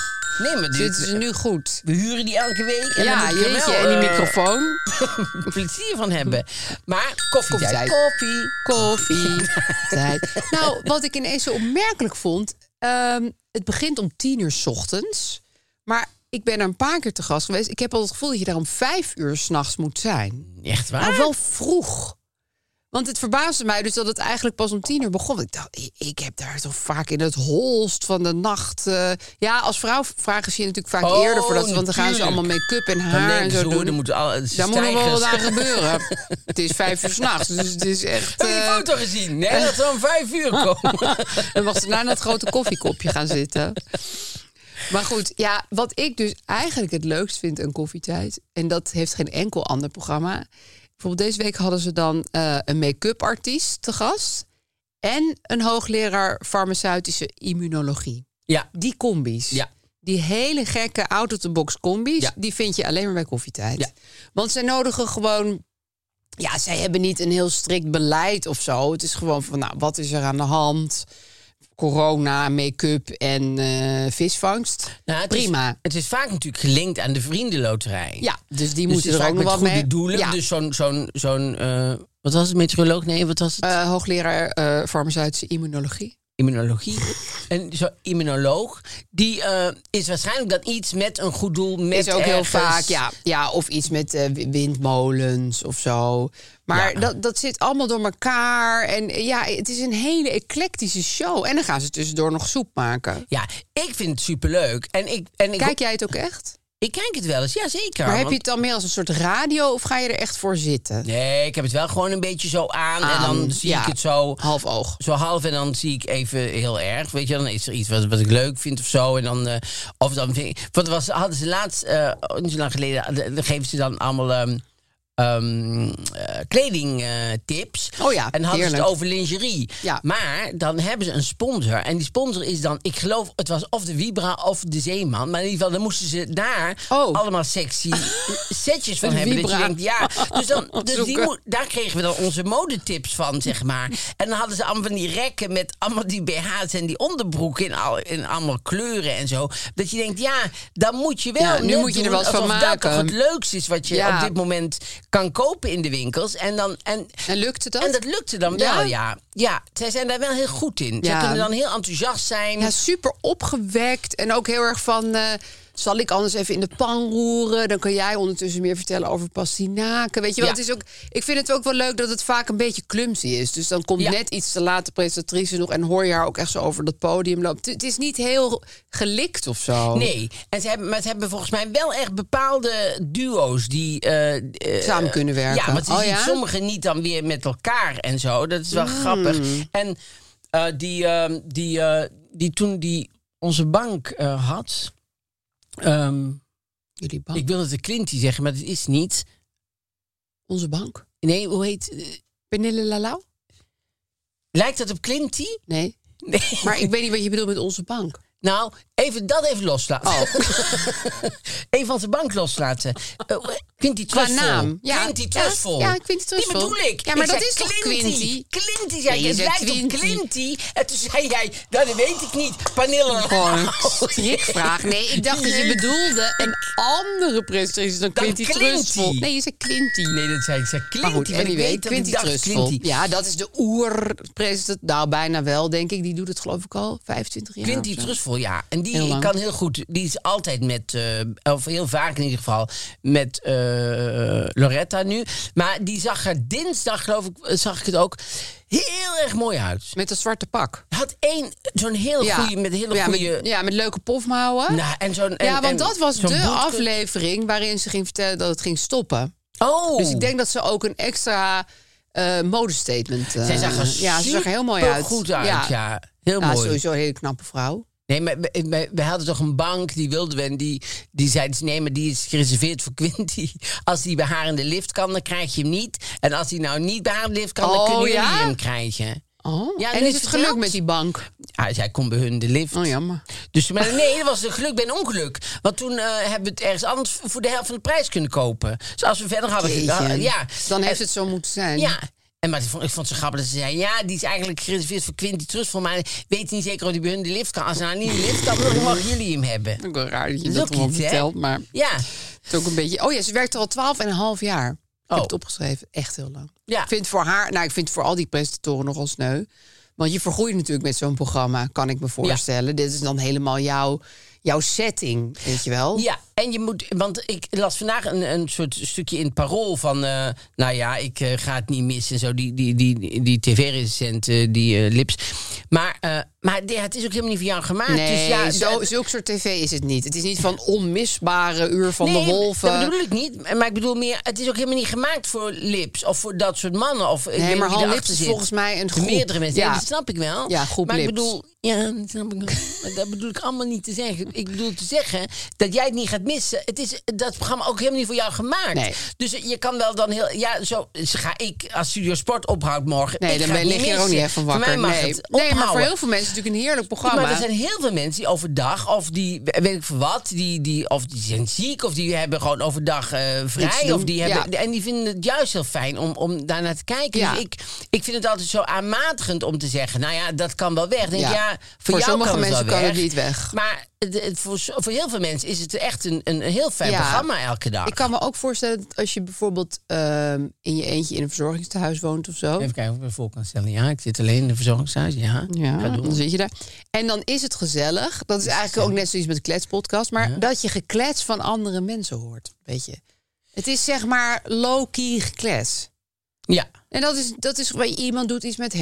Speaker 3: Nee, maar dit,
Speaker 4: zitten ze nu goed.
Speaker 3: we huren die elke week. En
Speaker 4: ja,
Speaker 3: dan moet ik er
Speaker 4: jeetje,
Speaker 3: wel,
Speaker 4: en die
Speaker 3: eh,
Speaker 4: microfoon.
Speaker 3: <laughs> plezier van hebben. Maar koffie.
Speaker 4: Koffietijd.
Speaker 3: Koffie.
Speaker 4: Koffie. tijd. <laughs> Nou, wat ik ineens zo opmerkelijk vond... ehm, het begint om tien uur 's ochtends. Maar ik ben er een paar keer te gast geweest. Ik heb al het gevoel dat je daar om vijf uur s'nachts moet zijn.
Speaker 3: Echt waar?
Speaker 4: Nou, wel vroeg. Want het verbaasde mij dus dat het eigenlijk pas om tien uur begon. Ik dacht, i- ik heb daar toch vaak in het holst van de nacht. eh, ja, als vrouw vragen ze je natuurlijk vaak
Speaker 3: Oh,
Speaker 4: eerder voor dat. Want dan gaan ze
Speaker 3: natuurlijk.
Speaker 4: allemaal make-up en
Speaker 3: dan
Speaker 4: haar en
Speaker 3: denken ze,
Speaker 4: zo
Speaker 3: hoe,
Speaker 4: doen.
Speaker 3: er moeten al,
Speaker 4: daar moet nog wel wat
Speaker 3: <laughs>
Speaker 4: aan gebeuren. het is vijf uur s'nachts, dus het is echt...
Speaker 3: Heb je die
Speaker 4: eh,
Speaker 3: foto gezien? Nee, dat we om vijf uur
Speaker 4: <laughs>
Speaker 3: komen.
Speaker 4: dan mag ze naar dat grote koffiekopje gaan zitten. Maar goed, ja, wat ik dus eigenlijk het leukst vind aan koffietijd... en dat heeft geen enkel ander programma... bijvoorbeeld deze week hadden ze dan eh, een make-up artiest te gast... en een hoogleraar farmaceutische immunologie.
Speaker 3: ja.
Speaker 4: Die combi's.
Speaker 3: Ja.
Speaker 4: Die hele gekke out-of-the-box combi's,
Speaker 3: Ja.
Speaker 4: die vind je alleen maar bij koffietijd.
Speaker 3: Ja.
Speaker 4: Want zij nodigen gewoon... Ja, zij hebben niet een heel strikt beleid of zo. Het is gewoon van, nou, wat is er aan de hand? Corona, make-up en eh, visvangst.
Speaker 3: Nou, het
Speaker 4: Prima.
Speaker 3: Is, het is vaak natuurlijk gelinkt aan de vriendenloterij.
Speaker 4: Ja, dus die
Speaker 3: Dus
Speaker 4: moeten
Speaker 3: het is
Speaker 4: er
Speaker 3: vaak
Speaker 4: ook nog
Speaker 3: met
Speaker 4: wat
Speaker 3: goede
Speaker 4: mee.
Speaker 3: doelen.
Speaker 4: Ja.
Speaker 3: Dus zo'n, zo'n, zo'n eh, wat was het, meteoroloog? Nee, wat was het?
Speaker 4: Eh, hoogleraar eh, farmaceutische immunologie.
Speaker 3: immunologie. <laughs> En zo'n immunoloog, die eh, is waarschijnlijk dan iets met een goed doel. Met
Speaker 4: is ook heel
Speaker 3: ergens-
Speaker 4: vaak, ja. ja. Of iets met eh, wi- windmolens of zo. Maar
Speaker 3: Ja.
Speaker 4: dat, dat zit allemaal door elkaar. En eh, ja, het is een hele eclectische show. En dan gaan ze tussendoor nog soep maken.
Speaker 3: Ja, ik vind het superleuk. En ik, en ik,
Speaker 4: Kijk jij het ook echt?
Speaker 3: ik kijk het wel eens, ja zeker.
Speaker 4: maar heb
Speaker 3: want-
Speaker 4: je het dan meer als een soort radio of ga je er echt voor zitten?
Speaker 3: Nee, ik heb het wel gewoon een beetje zo aan. en
Speaker 4: Aan,
Speaker 3: dan zie
Speaker 4: ja.
Speaker 3: ik het zo...
Speaker 4: Half oog.
Speaker 3: zo half en dan zie ik even heel erg. Weet je, dan is er iets wat, wat ik leuk vind of zo. En dan, eh, eh, of dan vind ik, want er was, hadden ze laatst, eh, niet zo lang geleden, de- de- geven ze dan allemaal ehm, ehm, eh, kledingtips.
Speaker 4: Oh ja,
Speaker 3: en hadden ze
Speaker 4: heerlijk.
Speaker 3: het over lingerie.
Speaker 4: Ja.
Speaker 3: Maar dan hebben ze een sponsor. En die sponsor is dan, ik geloof, het was of de Vibra of de Zeeman. Maar in ieder geval, dan moesten ze daar
Speaker 4: Oh.
Speaker 3: allemaal
Speaker 4: <laughs>
Speaker 3: sexy setjes van
Speaker 4: Een
Speaker 3: hebben. Dat je
Speaker 4: Vibra.
Speaker 3: denkt,
Speaker 4: <laughs>
Speaker 3: ja. Dus, dan, dus die
Speaker 4: Zoeken.
Speaker 3: moet- daar kregen we dan onze modetips van, zeg
Speaker 4: <laughs>
Speaker 3: maar. En dan hadden ze allemaal van die rekken met allemaal die BH's en die onderbroeken in, al, in allemaal kleuren en zo. Dat je denkt, ja, dan moet je wel
Speaker 4: Ja, nu
Speaker 3: net
Speaker 4: moet je er
Speaker 3: doen
Speaker 4: wat van
Speaker 3: alsof dat
Speaker 4: maken.
Speaker 3: toch het leukste is wat je
Speaker 4: Ja.
Speaker 3: op dit moment kan kopen in de winkels. En, dan, en,
Speaker 4: En lukte dat?
Speaker 3: en dat lukte dan
Speaker 4: Ja?
Speaker 3: wel, ja. Ja, zij zijn daar wel heel goed in. Zij
Speaker 4: Ja.
Speaker 3: kunnen dan heel enthousiast zijn.
Speaker 4: Ja, super opgewekt. En ook heel erg van. eh, zal ik anders even in de pan roeren? Dan kan jij ondertussen meer vertellen over pastinaken. Weet je wel,
Speaker 3: Ja.
Speaker 4: het is ook, ik vind het ook wel leuk dat het vaak een beetje clumsy is. Dus dan komt
Speaker 3: Ja.
Speaker 4: net iets te laat de presentatrice nog... en hoor je haar ook echt zo over dat podium lopen. Het- Het is niet heel gelikt of zo.
Speaker 3: Nee, en ze hebben, maar ze hebben volgens mij wel echt bepaalde duo's die... eh, eh,
Speaker 4: Samen kunnen werken.
Speaker 3: Ja, want je
Speaker 4: Oh,
Speaker 3: ziet
Speaker 4: ja? Hmm.
Speaker 3: sommigen niet dan weer met elkaar en zo. Dat is wel grappig. En eh, die, ehm, die, eh, die toen die onze bank eh, had... ehm,
Speaker 4: Jullie bank.
Speaker 3: ik wil het de Clinty zeggen, maar dat is niet.
Speaker 4: Onze bank.
Speaker 3: Nee, hoe heet... eh,
Speaker 4: Penille Lalau?
Speaker 3: lijkt dat op Clinty?
Speaker 4: Nee.
Speaker 3: Nee.
Speaker 4: Maar ik weet niet wat je bedoelt met onze bank.
Speaker 3: Nou, even dat even loslaten.
Speaker 4: Oh.
Speaker 3: <laughs> even van zijn bank loslaten. Eh, Quinty
Speaker 4: Qua
Speaker 3: Trustful.
Speaker 4: naam, ja.
Speaker 3: Quinty
Speaker 4: Ja,
Speaker 3: Trustful.
Speaker 4: ja, Quinty Trustful.
Speaker 3: Die bedoel ik.
Speaker 4: Ja, maar
Speaker 3: Ik
Speaker 4: dat
Speaker 3: zei
Speaker 4: is toch Quinty?
Speaker 3: Quinty zei
Speaker 4: Nee,
Speaker 3: je,
Speaker 4: je
Speaker 3: het
Speaker 4: zei
Speaker 3: lijkt
Speaker 4: Quinty.
Speaker 3: op Quinty. En toen zei jij, nou, dat weet ik niet. Panilla.
Speaker 4: <laughs> Gewoon strikvraag. Nee, ik dacht dat je bedoelde een andere presentatie dan
Speaker 3: Dan
Speaker 4: Quinty
Speaker 3: Clinty.
Speaker 4: Trustful. Nee, je zei Quinty.
Speaker 3: Nee, dat zei ik. Ik zei Quinty.
Speaker 4: Maar goed,
Speaker 3: want ik
Speaker 4: anyway,
Speaker 3: weet dat ik
Speaker 4: Quinty
Speaker 3: dacht
Speaker 4: Trustful.
Speaker 3: Quinty.
Speaker 4: Ja, dat is de oerpresentatie. Nou, bijna wel, denk ik. Die doet het geloof ik al 25 jaar.
Speaker 3: Quinty
Speaker 4: of zo.
Speaker 3: Trustful, ja. En die
Speaker 4: Heel lang.
Speaker 3: kan heel goed. Die is altijd met, eh, of heel vaak in ieder geval, met eh, Loretta nu. Maar die zag er dinsdag, geloof ik, eh, zag ik het ook, heel erg mooi uit.
Speaker 4: Met een zwarte pak.
Speaker 3: Had één, zo'n heel goede, met hele
Speaker 4: ja,
Speaker 3: goede...
Speaker 4: Met, ja, met leuke pofmouwen.
Speaker 3: Nou, en zo'n, en-
Speaker 4: ja, want
Speaker 3: en
Speaker 4: dat was de
Speaker 3: zo'n boek-
Speaker 4: aflevering waarin ze ging vertellen dat het ging stoppen.
Speaker 3: Oh!
Speaker 4: Dus ik denk dat ze ook een extra eh modestatement... eh,
Speaker 3: Zij zag er
Speaker 4: Ja, ze zag er heel mooi uit.
Speaker 3: goed uit, ja. Heel
Speaker 4: Ja,
Speaker 3: mooi.
Speaker 4: sowieso een hele knappe vrouw.
Speaker 3: Nee, maar we, we- we hadden toch een bank, die wilden we. En die, die zei, dus, nee, maar die is gereserveerd voor <laughs> Quinty. Als die bij haar in de lift kan, dan krijg je hem niet. En als hij nou niet bij haar in de lift kan,
Speaker 4: Oh,
Speaker 3: dan kunnen
Speaker 4: ja?
Speaker 3: jullie hem krijgen.
Speaker 4: Oh.
Speaker 3: Ja,
Speaker 4: en
Speaker 3: nu
Speaker 4: is
Speaker 3: is
Speaker 4: het
Speaker 3: het
Speaker 4: geluk
Speaker 3: geld.
Speaker 4: met die bank?
Speaker 3: Ah, zij kon bij hun in de lift.
Speaker 4: Oh, jammer.
Speaker 3: Dus maar nee, dat was een geluk bij een ongeluk. Want toen eh, hebben we het ergens anders voor de helft van de prijs kunnen kopen. Dus als we verder hadden
Speaker 4: Jeetje.
Speaker 3: gegaan, ja.
Speaker 4: Dan heeft
Speaker 3: En-
Speaker 4: het zo moeten zijn.
Speaker 3: Ja. En maar ik vond, ik vond het zo grappig dat ze zei... ja, die is eigenlijk gereserveerd voor Quinty Trustful... maar ik weet niet zeker of die bij hun in de lift kan. Als ze nou niet in de lift kan, dan mogen jullie hem hebben.
Speaker 4: Ook wel raar dat je
Speaker 3: Dat is
Speaker 4: dat
Speaker 3: ook
Speaker 4: allemaal
Speaker 3: iets, hè?
Speaker 4: vertelt, maar
Speaker 3: Ja,
Speaker 4: het is ook een beetje... Oh ja, ze werkt er al twaalf en een half jaar. Ik heb
Speaker 3: Oh.
Speaker 4: het opgeschreven. Echt heel lang.
Speaker 3: Ja.
Speaker 4: Ik vind voor haar... Nou, ik vind voor al die presentatoren nogal sneu. Want je vergroeit natuurlijk met zo'n programma, kan ik me voorstellen. Dit is dan helemaal jouw, jouw setting, weet je wel?
Speaker 3: ja. En je moet... Want ik las vandaag een, een soort stukje in het parool van... eh, nou ja, ik eh, ga het niet missen en zo. Die, die, die, die, tv-recensent, eh, die eh, Lips. Maar, eh, maar ja, het is ook helemaal niet voor jou gemaakt.
Speaker 4: Nee,
Speaker 3: dus ja,
Speaker 4: zo,
Speaker 3: het-
Speaker 4: zulk soort tv is het niet. Het is niet van onmisbare uur van de wolven.
Speaker 3: dat bedoel ik niet. Maar ik bedoel meer, het is ook helemaal niet gemaakt voor lips of voor dat soort mannen. Of, ik weet
Speaker 4: Nee,
Speaker 3: niet
Speaker 4: maar
Speaker 3: wie
Speaker 4: Han
Speaker 3: erachter
Speaker 4: Lips is
Speaker 3: zit.
Speaker 4: volgens mij een
Speaker 3: Voor
Speaker 4: groep.
Speaker 3: Meerdere mensen. Ja.
Speaker 4: Ja.
Speaker 3: dat snap ik wel.
Speaker 4: Ja, groep
Speaker 3: Maar
Speaker 4: Lips.
Speaker 3: ik bedoel, ja, dat snap ik wel. Maar dat bedoel ik allemaal niet te zeggen. Ik bedoel te zeggen dat jij het niet gaat missen. Het is dat programma ook helemaal niet voor jou gemaakt.
Speaker 4: Nee.
Speaker 3: Dus je kan wel dan heel, ja, zo dus ga ik als Studio Sport ophoud morgen.
Speaker 4: Nee,
Speaker 3: ik
Speaker 4: dan
Speaker 3: ga
Speaker 4: ben,
Speaker 3: het
Speaker 4: lig je er ook
Speaker 3: missen.
Speaker 4: niet echt van wakker.
Speaker 3: Voor mij mag
Speaker 4: nee.
Speaker 3: het
Speaker 4: nee, maar voor
Speaker 3: ophouden.
Speaker 4: heel veel mensen is het natuurlijk een heerlijk programma.
Speaker 3: Maar er zijn heel veel mensen die overdag, of die weet ik veel wat, die, die, of die zijn ziek, of die hebben gewoon overdag eh,
Speaker 4: Niks
Speaker 3: vrij.
Speaker 4: doen,
Speaker 3: Of die hebben,
Speaker 4: ja.
Speaker 3: En die vinden het juist heel fijn om, om daar naar te kijken.
Speaker 4: Ja.
Speaker 3: Dus ik, ik vind het altijd zo aanmatigend om te zeggen: nou ja, dat kan wel weg. Ik Denk,
Speaker 4: Ja.
Speaker 3: ja.
Speaker 4: Voor
Speaker 3: voor jou
Speaker 4: sommige
Speaker 3: kan
Speaker 4: mensen
Speaker 3: het wel
Speaker 4: kan het
Speaker 3: weg.
Speaker 4: niet weg.
Speaker 3: Maar het, het- voor, zo- voor heel veel mensen is het echt een, een, een heel fijn
Speaker 4: Ja.
Speaker 3: programma elke dag.
Speaker 4: Ik kan me ook voorstellen dat als je bijvoorbeeld ehm, in je eentje in een verzorgingstehuis woont of zo.
Speaker 3: Even kijken of ik me voor kan stellen. Ja, ik zit alleen in een verzorgingshuis. Ja,
Speaker 4: Ja,
Speaker 3: Ga door.
Speaker 4: dan zit je daar. En dan is het gezellig. Dat is eigenlijk ook net zoiets met de kletspodcast. Maar dat je geklets van andere mensen hoort, weet je. Het is zeg maar low-key geklets.
Speaker 3: ja.
Speaker 4: En dat is, dat is gewoon, iemand doet iets met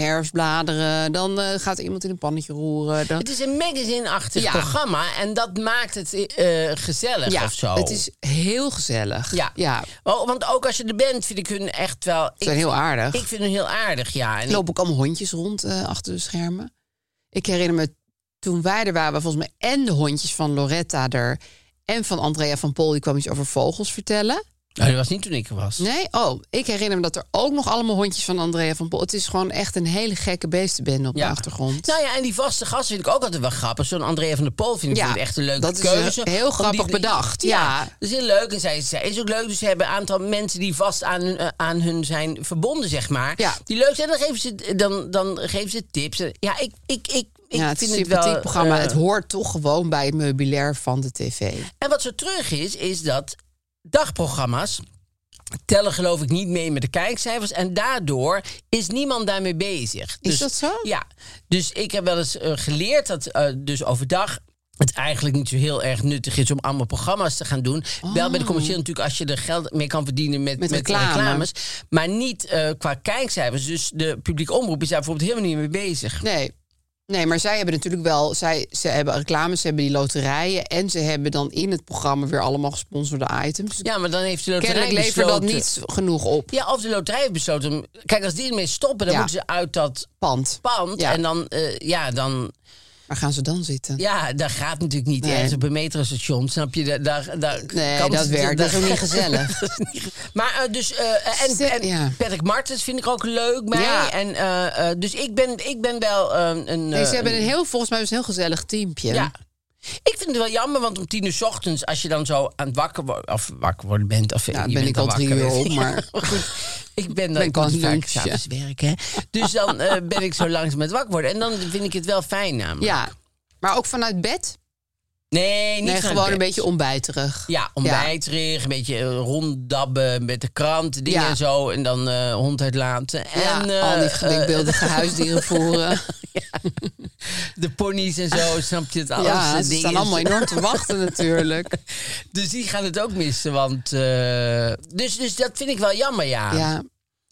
Speaker 4: herfstbladeren. Dan eh, gaat iemand in een pannetje roeren. Dan,
Speaker 3: Het is een magazine-achtig
Speaker 4: Ja.
Speaker 3: programma en dat maakt het eh, gezellig
Speaker 4: ja,
Speaker 3: of zo.
Speaker 4: het is heel gezellig.
Speaker 3: Ja.
Speaker 4: ja.
Speaker 3: Oh, want ook als je er bent, vind ik hun echt wel.
Speaker 4: Ze zijn
Speaker 3: ik,
Speaker 4: heel aardig.
Speaker 3: ik vind hun heel aardig, ja. En
Speaker 4: Er lopen ook allemaal hondjes rond eh, achter de schermen. Ik herinner me toen wij er waren, volgens mij en de hondjes van Loretta er en van Andrea van Pol, die kwam iets over vogels vertellen.
Speaker 3: Nou, dat was niet toen ik er was.
Speaker 4: Nee? Oh, ik herinner me dat er ook nog allemaal hondjes van Andrea van Pol. Het is gewoon echt een hele gekke beestenbende op
Speaker 3: Ja.
Speaker 4: de achtergrond.
Speaker 3: Nou ja, en die vaste gast vind ik ook altijd wel grappig. Zo'n Andrea van der Pol vind ik
Speaker 4: Ja,
Speaker 3: vind ik echt een leuke
Speaker 4: dat is eh,
Speaker 3: keuze.
Speaker 4: heel
Speaker 3: Om die-
Speaker 4: grappig bedacht, ja.
Speaker 3: Dat is heel leuk. En zij, zij is ook leuk. Dus ze hebben een aantal mensen die vast aan hun, eh, aan hun zijn verbonden, zeg maar.
Speaker 4: Ja.
Speaker 3: Die leuk zijn. Dan geven ze, dan, dan geven ze tips. Ja, ik, ik, ik, ik
Speaker 4: ja, het
Speaker 3: vind
Speaker 4: is een
Speaker 3: het wel...
Speaker 4: sympathiek programma.
Speaker 3: eh,
Speaker 4: het hoort toch gewoon bij het meubilair van de tv.
Speaker 3: En wat zo terug is, is dat dagprogramma's tellen geloof ik niet mee met de kijkcijfers. En daardoor is niemand daarmee bezig. Is
Speaker 4: dat zo?
Speaker 3: Ja. Dus ik heb wel eens eh, geleerd dat eh, dus overdag het eigenlijk niet zo heel erg nuttig is om allemaal programma's te gaan doen. Wel bij de commerciële natuurlijk als je er geld mee kan verdienen met,
Speaker 4: Oh. Met
Speaker 3: met, eh,
Speaker 4: reclame.
Speaker 3: reclames. Maar niet eh, qua kijkcijfers. Dus de publieke omroep is daar bijvoorbeeld helemaal niet mee bezig.
Speaker 4: Nee. Nee, maar zij hebben natuurlijk wel, zij, ze hebben reclames, ze hebben die loterijen en ze hebben dan in het programma weer allemaal gesponsorde items. Dus
Speaker 3: Ja, maar dan heeft de loterij
Speaker 4: Kennelijk levert dat
Speaker 3: besloten-
Speaker 4: niet genoeg op.
Speaker 3: dus Ja, of de loterij heeft besloten. om- Kijk, als die ermee stoppen, dan
Speaker 4: Ja.
Speaker 3: moeten ze uit dat
Speaker 4: Pand.
Speaker 3: pand.
Speaker 4: Ja.
Speaker 3: En dan, eh, ja, dan,
Speaker 4: Waar gaan ze dan zitten?
Speaker 3: ja, dat gaat natuurlijk niet
Speaker 4: Nee.
Speaker 3: ergens op een metrostation, snap je? Daar, daar, daar
Speaker 4: Nee,
Speaker 3: kan
Speaker 4: dat
Speaker 3: ze-
Speaker 4: werkt. Dat is
Speaker 3: daar-
Speaker 4: ook niet
Speaker 3: <laughs>
Speaker 4: gezellig.
Speaker 3: Dat is niet ge- maar eh, dus, eh, en,
Speaker 4: Stel-
Speaker 3: en
Speaker 4: ja.
Speaker 3: Patrick Martens vind ik ook leuk bij.
Speaker 4: Ja.
Speaker 3: En, eh, eh, dus ik ben, ik ben wel eh, een...
Speaker 4: Nee,
Speaker 3: eh,
Speaker 4: ze hebben een heel, volgens mij een heel gezellig teampje.
Speaker 3: Ja. Ik vind het wel jammer, want om tien uur 's ochtends, als je dan zo aan het wakker worden, of wakker worden bent, of
Speaker 4: Ja,
Speaker 3: je
Speaker 4: Nou, ben
Speaker 3: bent
Speaker 4: ik al drie
Speaker 3: wakker,
Speaker 4: uur
Speaker 3: weet
Speaker 4: op,
Speaker 3: ik.
Speaker 4: maar-
Speaker 3: <laughs> Ja, goed, ik ben
Speaker 4: Ben
Speaker 3: dan ik
Speaker 4: kan
Speaker 3: moet vaak
Speaker 4: lunchen.
Speaker 3: s'avonds werken, hè. dus dan eh, ben ik zo langzaam met wakker worden en dan vind ik het wel fijn namelijk.
Speaker 4: Ja. Maar ook vanuit bed?
Speaker 3: Nee, niet
Speaker 4: Nee,
Speaker 3: vanuit
Speaker 4: gewoon een
Speaker 3: bed.
Speaker 4: beetje ontbijterig.
Speaker 3: Ja, ontbijterig, een beetje eh, ronddabben met de krant, dingen
Speaker 4: Ja.
Speaker 3: en zo. En dan eh hond uitlaten.
Speaker 4: Ja,
Speaker 3: en eh,
Speaker 4: al die
Speaker 3: eh, <laughs>
Speaker 4: denkbeeldige huisdieren voeren.
Speaker 3: eh, de ponies en zo,
Speaker 4: <laughs>
Speaker 3: snap je het alles?
Speaker 4: ja,
Speaker 3: eh,
Speaker 4: ze
Speaker 3: dingen.
Speaker 4: staan allemaal enorm te wachten natuurlijk.
Speaker 3: Dus die gaan het ook missen, want... eh, dus, dus dat vind ik wel jammer, <laughs> ja.
Speaker 4: Ja.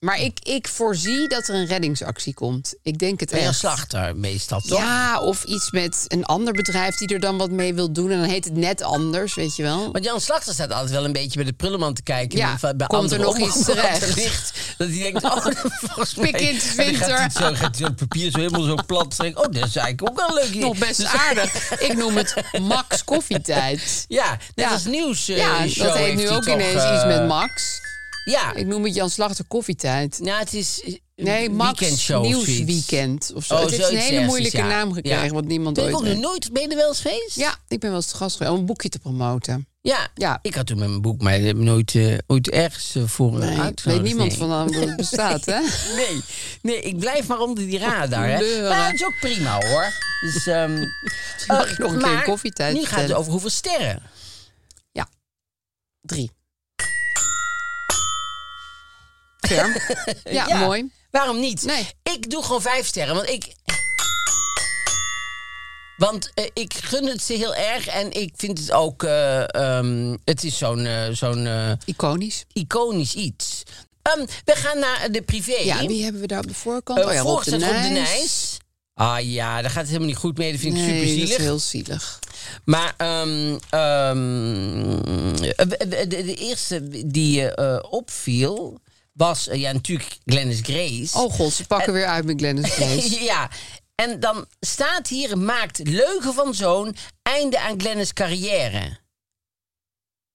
Speaker 4: Maar ik, ik voorzie dat er een reddingsactie komt. Ik denk het
Speaker 3: Ben je
Speaker 4: echt.
Speaker 3: een slachter meestal, toch?
Speaker 4: Ja, of iets met een ander bedrijf die er dan wat mee wil doen. En dan heet het net anders, weet je wel.
Speaker 3: Want Jan Slachter staat altijd wel een beetje bij de prullenman te kijken.
Speaker 4: Ja,
Speaker 3: en bij
Speaker 4: komt
Speaker 3: andere
Speaker 4: er nog iets
Speaker 3: omroepen wat
Speaker 4: terecht?
Speaker 3: ligt, dat hij denkt,
Speaker 4: <laughs>
Speaker 3: oh, volgens mij...
Speaker 4: Pik in de
Speaker 3: En dan gaat hij
Speaker 4: winter.
Speaker 3: zo- gaat hij zo het papier zo helemaal zo plat trekken. Oh, dat is eigenlijk ook wel een leuk idee.
Speaker 4: Nog best
Speaker 3: Dus-
Speaker 4: aardig. Ik noem het Max Koffietijd.
Speaker 3: <laughs> Ja, net
Speaker 4: Ja.
Speaker 3: als nieuws. eh,
Speaker 4: ja,
Speaker 3: show
Speaker 4: dat heet
Speaker 3: heeft
Speaker 4: nu
Speaker 3: hij
Speaker 4: ook
Speaker 3: toch,
Speaker 4: ineens
Speaker 3: eh,
Speaker 4: iets met Max.
Speaker 3: Ja,
Speaker 4: Ik noem het Jan Slachter Koffietijd.
Speaker 3: nou, het is. eh,
Speaker 4: Nee, Max
Speaker 3: weekendshow of zoiets.
Speaker 4: Nieuwsweekend of zo.
Speaker 3: Oh,
Speaker 4: het heeft een
Speaker 3: zoiets
Speaker 4: hele
Speaker 3: ergens,
Speaker 4: moeilijke
Speaker 3: ja.
Speaker 4: naam gekregen,
Speaker 3: Ja.
Speaker 4: want niemand
Speaker 3: Ben ik
Speaker 4: ooit
Speaker 3: ook nog
Speaker 4: weet.
Speaker 3: nooit. Ben je er wel eens geweest?
Speaker 4: Ja, ik ben wel eens te gast geweest om een boekje te promoten.
Speaker 3: ja.
Speaker 4: Ja.
Speaker 3: Ik had toen met mijn boek, maar ik heb nooit eh, ooit ergens eh, voor
Speaker 4: Nee,
Speaker 3: nee,
Speaker 4: weet niemand van dat het bestaat, hè?
Speaker 3: Nee, nee, ik blijf maar onder die radar. Hè.
Speaker 4: Leuren.
Speaker 3: Maar dat is ook prima hoor. Dus, ehm
Speaker 4: <laughs> Mag
Speaker 3: eh,
Speaker 4: ik nog een keer
Speaker 3: maar
Speaker 4: een koffietijd
Speaker 3: Nu gaat het
Speaker 4: vertellen?
Speaker 3: over hoeveel sterren.
Speaker 4: Drie.
Speaker 3: <laughs>
Speaker 4: Ferm. Ja,
Speaker 3: Ja.
Speaker 4: mooi.
Speaker 3: Waarom niet?
Speaker 4: Nee.
Speaker 3: Ik doe gewoon vijf sterren, want ik. Want eh, ik gun het ze heel erg en ik vind het ook. eh, ehm, het is zo'n eh, zo'n eh,
Speaker 4: Iconisch.
Speaker 3: iconisch iets. Ehm, we gaan naar de privé.
Speaker 4: Ja, wie hebben we daar op de voorkant?
Speaker 3: Eh,
Speaker 4: oh ja, Rob
Speaker 3: Voort
Speaker 4: de
Speaker 3: staat Rob de
Speaker 4: Nijs.
Speaker 3: Nijs. Ah ja, daar gaat het helemaal niet goed mee. Dat vind ik
Speaker 4: Nee,
Speaker 3: super
Speaker 4: dat is
Speaker 3: zielig.
Speaker 4: heel zielig.
Speaker 3: Maar ehm, ehm, eh, de, de- de eerste die eh, eh, opviel was, eh, ja natuurlijk Glennis Grace.
Speaker 4: Oh god, ze pakken weer uit met
Speaker 3: <laughs>
Speaker 4: Glennis Grace.
Speaker 3: ja. En dan staat hier, maakt leugen van zoon, einde aan Glennis carrière.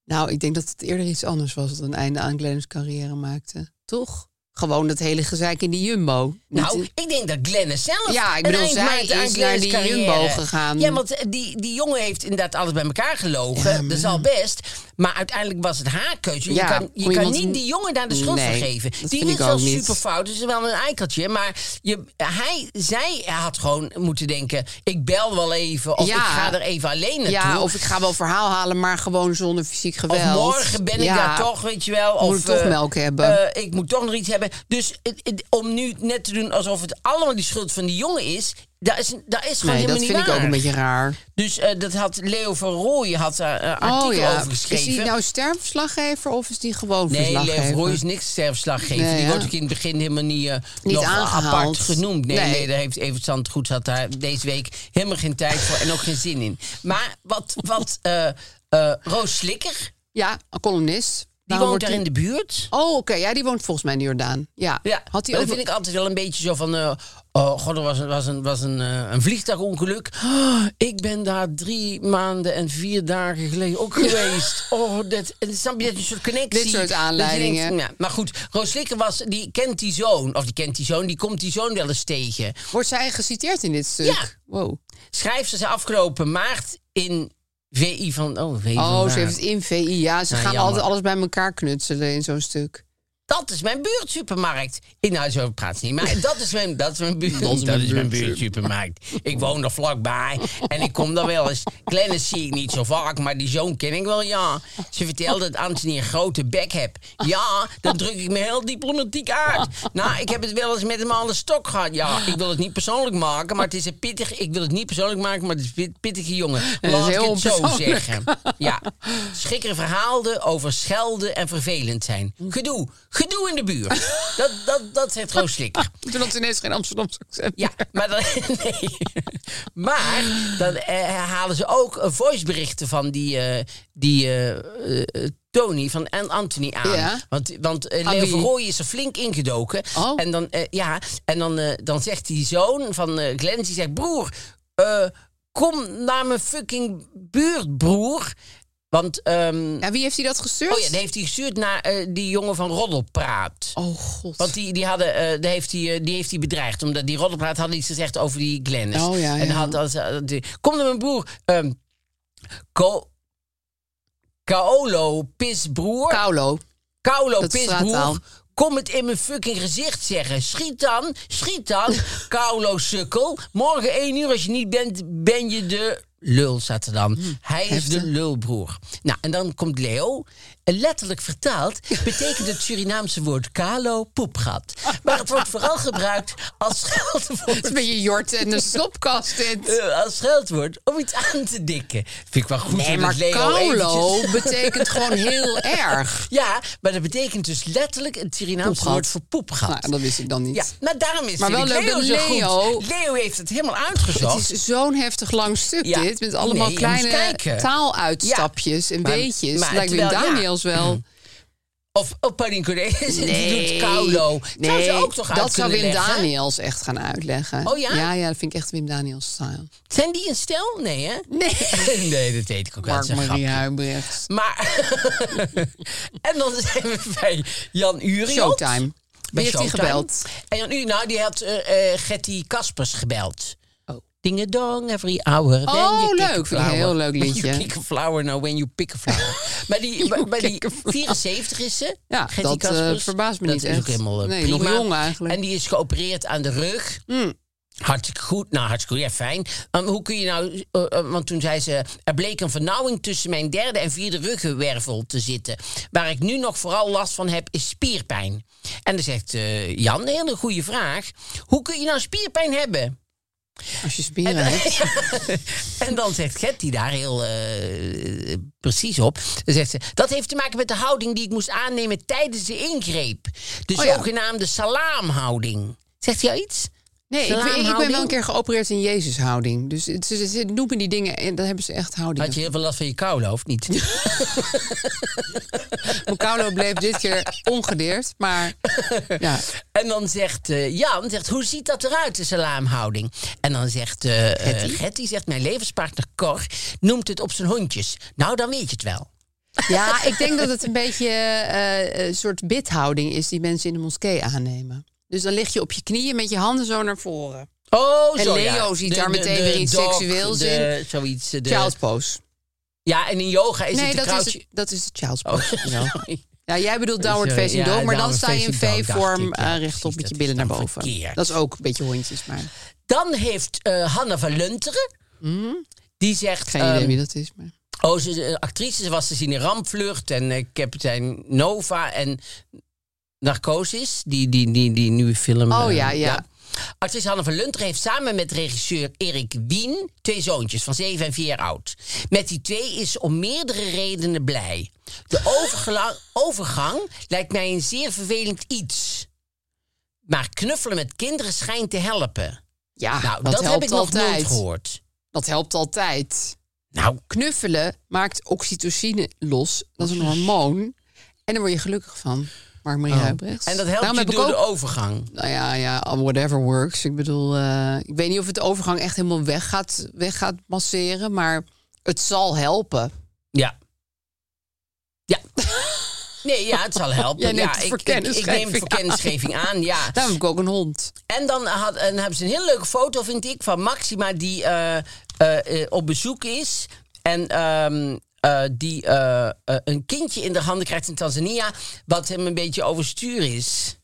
Speaker 4: Nou, ik denk dat het eerder iets anders was dat een einde aan Glennis carrière maakte. Toch? Gewoon dat hele gezeik in die Jumbo. Niet
Speaker 3: Nou,
Speaker 4: in-
Speaker 3: ik denk dat Glennis zelf.
Speaker 4: Ja, ik
Speaker 3: een
Speaker 4: bedoel,
Speaker 3: eind
Speaker 4: zij
Speaker 3: maakt aan
Speaker 4: is
Speaker 3: Glennis
Speaker 4: naar die
Speaker 3: carrière.
Speaker 4: Jumbo gegaan.
Speaker 3: Ja, want eh, die, die jongen heeft inderdaad alles bij elkaar gelogen.
Speaker 4: Ja, maar-
Speaker 3: Dat is al best. Maar uiteindelijk was het haar keuze.
Speaker 4: Ja,
Speaker 3: je kan, je kan
Speaker 4: om iemand-
Speaker 3: niet die jongen daar de schuld
Speaker 4: Nee,
Speaker 3: van geven.
Speaker 4: dat
Speaker 3: Die
Speaker 4: vind
Speaker 3: is
Speaker 4: ik
Speaker 3: wel
Speaker 4: ook niet.
Speaker 3: super fout. is wel een eikeltje. Maar je, hij, zij had gewoon moeten denken... ik bel wel even of
Speaker 4: Ja.
Speaker 3: ik ga er even alleen naartoe.
Speaker 4: ja, of ik ga wel verhaal halen, maar gewoon zonder fysiek
Speaker 3: Of
Speaker 4: geweld.
Speaker 3: morgen ben ik
Speaker 4: Ja.
Speaker 3: daar toch, weet je wel.
Speaker 4: Moet
Speaker 3: of
Speaker 4: ik toch
Speaker 3: eh,
Speaker 4: melk hebben.
Speaker 3: eh, ik moet toch nog iets hebben. Dus het- het- om nu net te doen alsof het allemaal die schuld van die jongen is... dat is, dat is gewoon helemaal
Speaker 4: Nee, dat
Speaker 3: niet
Speaker 4: vind ik
Speaker 3: waar.
Speaker 4: ook een beetje raar.
Speaker 3: Dus eh, dat had Leo van Rooij had daar een artikel over geschreven.
Speaker 4: Oh, Is hij nou sterverslaggever of is die gewoon
Speaker 3: Nee, Leo
Speaker 4: verslaggever?
Speaker 3: van Rooij is niks sterfslaggever.
Speaker 4: Nee,
Speaker 3: die
Speaker 4: ja.
Speaker 3: wordt ook in het begin helemaal niet, eh,
Speaker 4: Niet
Speaker 3: nog
Speaker 4: aangehaald.
Speaker 3: apart genoemd. Nee, nee.
Speaker 4: Nee.
Speaker 3: daar heeft Evert Zandgoed zat daar deze week helemaal geen tijd voor en ook geen zin in. Maar wat, wat eh, eh, Roos Slikker,
Speaker 4: Ja, een columnist.
Speaker 3: Die
Speaker 4: Waarom
Speaker 3: woont
Speaker 4: wordt
Speaker 3: daar in de buurt.
Speaker 4: Oh, oké. Ja, die woont volgens mij in de Jordaan. Ja.
Speaker 3: Ja,
Speaker 4: Had hij
Speaker 3: maar
Speaker 4: ook...
Speaker 3: dat vind ik altijd wel een beetje zo van... eh, oh god, er was, een- was, een, was een, eh, een vliegtuigongeluk. <gasps> Ah, ik ben daar drie maanden en vier dagen geleden
Speaker 4: <laughs>
Speaker 3: ook geweest. Oh, dat, en snap je, dat is een soort connectie.
Speaker 4: Dit soort
Speaker 3: Dat je
Speaker 4: aanleidingen.
Speaker 3: denkt, ja, maar goed, Roos Slikker was, die kent die zoon. Of die kent die zoon, die komt die zoon wel eens tegen.
Speaker 4: Wordt zij geciteerd in dit stuk?
Speaker 3: Ja.
Speaker 4: Wow.
Speaker 3: Schrijft ze ze afgelopen maart in VI van... Oh, VI
Speaker 4: Oh,
Speaker 3: vandaag.
Speaker 4: ze heeft het in VI. Ja, ze
Speaker 3: Nou,
Speaker 4: gaan
Speaker 3: jammer.
Speaker 4: altijd alles bij elkaar knutselen in zo'n stuk.
Speaker 3: Dat is mijn buurtsupermarkt. Ik, nou, zo praat ze niet. Maar dat is mijn, dat is mijn, buurt,
Speaker 4: <laughs> Dat
Speaker 3: dat
Speaker 4: is
Speaker 3: is
Speaker 4: mijn
Speaker 3: mijn buurtsupermarkt. Ik woon er vlakbij en ik kom daar wel eens. Glennis zie ik niet zo vaak, maar die zoon ken ik wel, ja. Ze vertelde dat Anthony een grote bek hebt. Ja, dan druk ik me heel diplomatiek uit. Nou, ik heb het wel eens met hem aan de stok gehad. Ja, ik wil het niet persoonlijk maken, maar het is een pittig... Ik wil het niet persoonlijk maken, maar het is een pit- pittige jongen.
Speaker 4: is
Speaker 3: Laat ik
Speaker 4: heel
Speaker 3: het zo
Speaker 4: onpersoonlijk.
Speaker 3: zeggen. Ja. Schikker verhaalde over schelden en vervelend zijn. Gedoe. Gedoe in de buurt. Dat, dat, dat zegt Roos Slikker.
Speaker 4: Toen had ze ineens geen Amsterdamse accent.
Speaker 3: Ja, maar dan, <laughs> nee. maar dan eh, herhalen ze ook eh, voiceberichten van die, eh, die eh, eh, Tony van en Anthony aan.
Speaker 4: Ja.
Speaker 3: Want, want eh,
Speaker 4: Aan
Speaker 3: Leo
Speaker 4: wie?
Speaker 3: van Rooij is er flink ingedoken.
Speaker 4: Oh.
Speaker 3: En, dan, eh, ja, en dan, eh, dan zegt die zoon van eh Glenn, die zegt... Broer, eh, kom naar mijn fucking buurt, broer. Want... ehm,
Speaker 4: Ja, nou, wie heeft hij dat gestuurd?
Speaker 3: Oh ja, die heeft hij gestuurd naar eh, die jongen van Roddelpraat.
Speaker 4: Oh, god.
Speaker 3: Want die, die, hadden, eh, die, heeft die, eh, die heeft die bedreigd. Omdat die roddelpraat hadden iets gezegd over die Glennis.
Speaker 4: Oh, ja,
Speaker 3: En
Speaker 4: ja.
Speaker 3: had, had, had- die- kom naar mijn broer. ehm Ko- Kaolo, pisbroer.
Speaker 4: Paulo.
Speaker 3: Kaulo,
Speaker 4: Dat is straattaal.
Speaker 3: pisboer. Kom het in mijn fucking gezicht zeggen. Schiet dan, schiet dan,
Speaker 4: <laughs>
Speaker 3: Kaulo sukkel. Morgen 1 uur, als je niet bent, ben je de lul, staat er dan.
Speaker 4: Hm,
Speaker 3: Hij is de lulbroer. Nou, en dan komt Leo. En letterlijk
Speaker 4: <laughs>
Speaker 3: vertaald betekent het Surinaamse woord kalo poepgat. Maar het wordt vooral gebruikt als
Speaker 4: Het
Speaker 3: scheldwoord.
Speaker 4: is een beetje jort en een slopkast dit.
Speaker 3: eh, als scheldwoord om iets aan te dikken. Vind ik wel goed.
Speaker 4: Nee,
Speaker 3: dat
Speaker 4: maar
Speaker 3: Leo
Speaker 4: Kaulo
Speaker 3: eventjes- <laughs>
Speaker 4: betekent gewoon heel erg.
Speaker 3: Ja, maar dat betekent dus letterlijk het Surinaamse
Speaker 4: Poepgat.
Speaker 3: woord voor poepgat.
Speaker 4: Nou, dat wist ik dan niet.
Speaker 3: Ja, maar daarom is
Speaker 4: Maar wel
Speaker 3: natuurlijk
Speaker 4: leuk
Speaker 3: Leo
Speaker 4: dat
Speaker 3: zo
Speaker 4: Leo-
Speaker 3: goed. Leo heeft het helemaal
Speaker 4: Het
Speaker 3: uitgezocht.
Speaker 4: is zo'n heftig lang stuk
Speaker 3: Ja.
Speaker 4: dit. Met allemaal
Speaker 3: Nee, je moet
Speaker 4: kleine
Speaker 3: kijken.
Speaker 4: taaluitstapjes en
Speaker 3: Maar-
Speaker 4: beetjes.
Speaker 3: maar
Speaker 4: Lijkt Wim
Speaker 3: terwijl- ja.
Speaker 4: Daniels wel.
Speaker 3: Of oh, Pauline Cornelis, die doet Kaulo. zou ze ook toch uit
Speaker 4: dat zou Wim
Speaker 3: kunnen leggen?
Speaker 4: Daniels echt gaan uitleggen.
Speaker 3: Oh ja?
Speaker 4: Ja, ja, dat vind ik echt Wim Daniels style.
Speaker 3: Zijn die een stel? Nee, hè?
Speaker 4: <laughs> Nee.
Speaker 3: nee, dat weet ik ook wel. Dat is een
Speaker 4: Mark-Marie
Speaker 3: grapje.
Speaker 4: Huibrechts.
Speaker 3: Maar, <laughs> en dan zijn we bij Jan Uriot.
Speaker 4: Showtime.
Speaker 3: Bij
Speaker 4: Wie heeft die
Speaker 3: Showtime.
Speaker 4: gebeld?
Speaker 3: En Jan Uriot, nou, die had eh eh, Getty Kaspers gebeld.
Speaker 4: Oh.
Speaker 3: Ding dong, every hour. Then
Speaker 4: Oh,
Speaker 3: you
Speaker 4: leuk.
Speaker 3: kick a
Speaker 4: Vind ik een
Speaker 3: flower.
Speaker 4: heel leuk
Speaker 3: When
Speaker 4: liedje.
Speaker 3: You kick a flower, now when you pick a flower.
Speaker 4: <laughs>
Speaker 3: maar die, maar, maar die
Speaker 4: kick a flower.
Speaker 3: 74 is ze.
Speaker 4: Ja,
Speaker 3: Gertie
Speaker 4: dat, eh,
Speaker 3: Kaspers.
Speaker 4: verbaast me
Speaker 3: dat
Speaker 4: niet
Speaker 3: is
Speaker 4: echt.
Speaker 3: ook helemaal eh,
Speaker 4: Nee, nog
Speaker 3: prima.
Speaker 4: jong eigenlijk. Mm.
Speaker 3: En die is geopereerd aan de rug. Hartstikke goed. Nou, hartstikke goed. Ja, fijn. Um, hoe kun je nou... eh, eh, want toen zei ze... Er bleek een vernauwing tussen mijn derde en vierde ruggenwervel te zitten. Waar ik nu nog vooral last van heb, is spierpijn. En dan zegt eh, Jan, een hele goede vraag. Hoe kun je nou spierpijn hebben?
Speaker 4: Als je spieren hebt.
Speaker 3: En dan zegt Gertie daar heel eh, precies op. Dan zegt ze, dat heeft te maken met de houding die ik moest aannemen tijdens de ingreep. De
Speaker 4: Oh ja.
Speaker 3: zogenaamde salaamhouding. Zegt hij jou iets?
Speaker 4: Nee, ik, ben- ik ben wel
Speaker 3: Salaamhouding?
Speaker 4: een keer geopereerd in Jezushouding. Dus het- ze, ze noemen die dingen en dan hebben ze echt houding.
Speaker 3: Had je heel veel last van je koude, of niet? <laughs>
Speaker 4: Mokaulo bleef dit keer ongedeerd, maar <laughs> ja.
Speaker 3: En dan zegt eh, Jan, zegt, hoe ziet dat eruit, de salaamhouding? En dan zegt eh eh,
Speaker 4: Getty?
Speaker 3: Getty, zegt, mijn levenspartner Cor noemt het op zijn hondjes. Nou, dan weet je het wel.
Speaker 4: ja, ik denk dat het een beetje eh, een soort bidhouding is die mensen in de moskee aannemen. Dus dan lig je op je knieën met je handen zo naar voren.
Speaker 3: Oh,
Speaker 4: En
Speaker 3: zo,
Speaker 4: Leo
Speaker 3: ja.
Speaker 4: ziet daar meteen weer iets seksueels
Speaker 3: de- Zoiets, eh, de,
Speaker 4: Child pose.
Speaker 3: ja, en in yoga is
Speaker 4: nee,
Speaker 3: het een
Speaker 4: dat is,
Speaker 3: kruidje.
Speaker 4: het, dat is de child
Speaker 3: Oh, <laughs>
Speaker 4: pose. <laughs>
Speaker 3: sorry.
Speaker 4: Ja, jij bedoelt
Speaker 3: Dus,
Speaker 4: downward
Speaker 3: eh,
Speaker 4: facing
Speaker 3: ja,
Speaker 4: dog, maar dan
Speaker 3: downward
Speaker 4: sta je in
Speaker 3: facing dog, dacht
Speaker 4: V-vorm
Speaker 3: ik, ja,
Speaker 4: eh, rechtop
Speaker 3: precies,
Speaker 4: met je
Speaker 3: dat
Speaker 4: billen
Speaker 3: is
Speaker 4: naar
Speaker 3: dan
Speaker 4: boven.
Speaker 3: verkeerd.
Speaker 4: Dat is ook een beetje hondjes, maar
Speaker 3: Dan heeft eh Hanna van Lunteren, die zegt...
Speaker 4: Mm-hmm. geen idee
Speaker 3: ehm,
Speaker 4: wie dat is. Maar...
Speaker 3: Oh, ze is een actrice. Ze was te zien in Rampvlucht en eh, kapitein Nova en Narcosis. Die, die, die, die nieuwe film.
Speaker 4: Oh
Speaker 3: eh,
Speaker 4: ja, ja.
Speaker 3: Actrice Hanne van Lunter heeft samen met regisseur Erik Wien twee zoontjes van 7 en 4 jaar oud. Met die twee is ze om meerdere redenen blij. De overgela- overgang lijkt mij een zeer vervelend iets. Maar knuffelen met kinderen schijnt te helpen.
Speaker 4: Ja,
Speaker 3: nou,
Speaker 4: dat,
Speaker 3: dat,
Speaker 4: helpt
Speaker 3: heb ik nog
Speaker 4: altijd.
Speaker 3: nooit gehoord.
Speaker 4: Dat helpt altijd.
Speaker 3: Nou,
Speaker 4: Knuffelen maakt oxytocine los. Dat is een hormoon. En daar word je gelukkig van. Mark Marie Huibrechts.
Speaker 3: Oh. En dat helpt
Speaker 4: Daarom
Speaker 3: je
Speaker 4: heb ik
Speaker 3: door de
Speaker 4: ook-
Speaker 3: overgang.
Speaker 4: Nou ja, ja, whatever works. Ik bedoel, eh, ik weet niet of het de overgang echt helemaal weg gaat, weg gaat masseren. Maar het zal helpen.
Speaker 3: Ja. Ja. <laughs> Nee, ja, het zal helpen.
Speaker 4: Jij neemt
Speaker 3: ja,
Speaker 4: het
Speaker 3: ik,
Speaker 4: voor
Speaker 3: ik, ik neem het
Speaker 4: kennisgeving
Speaker 3: voor
Speaker 4: <laughs> aan.
Speaker 3: kennisgeving aan.
Speaker 4: <laughs>
Speaker 3: Ja.
Speaker 4: Daarom heb ik ook een hond.
Speaker 3: En dan had, en hebben ze een hele leuke foto, vind ik, van Maxima die eh, eh, eh, op bezoek is. En ehm, eh, die eh, eh, een kindje in de handen krijgt in Tanzania, wat hem een beetje overstuur is.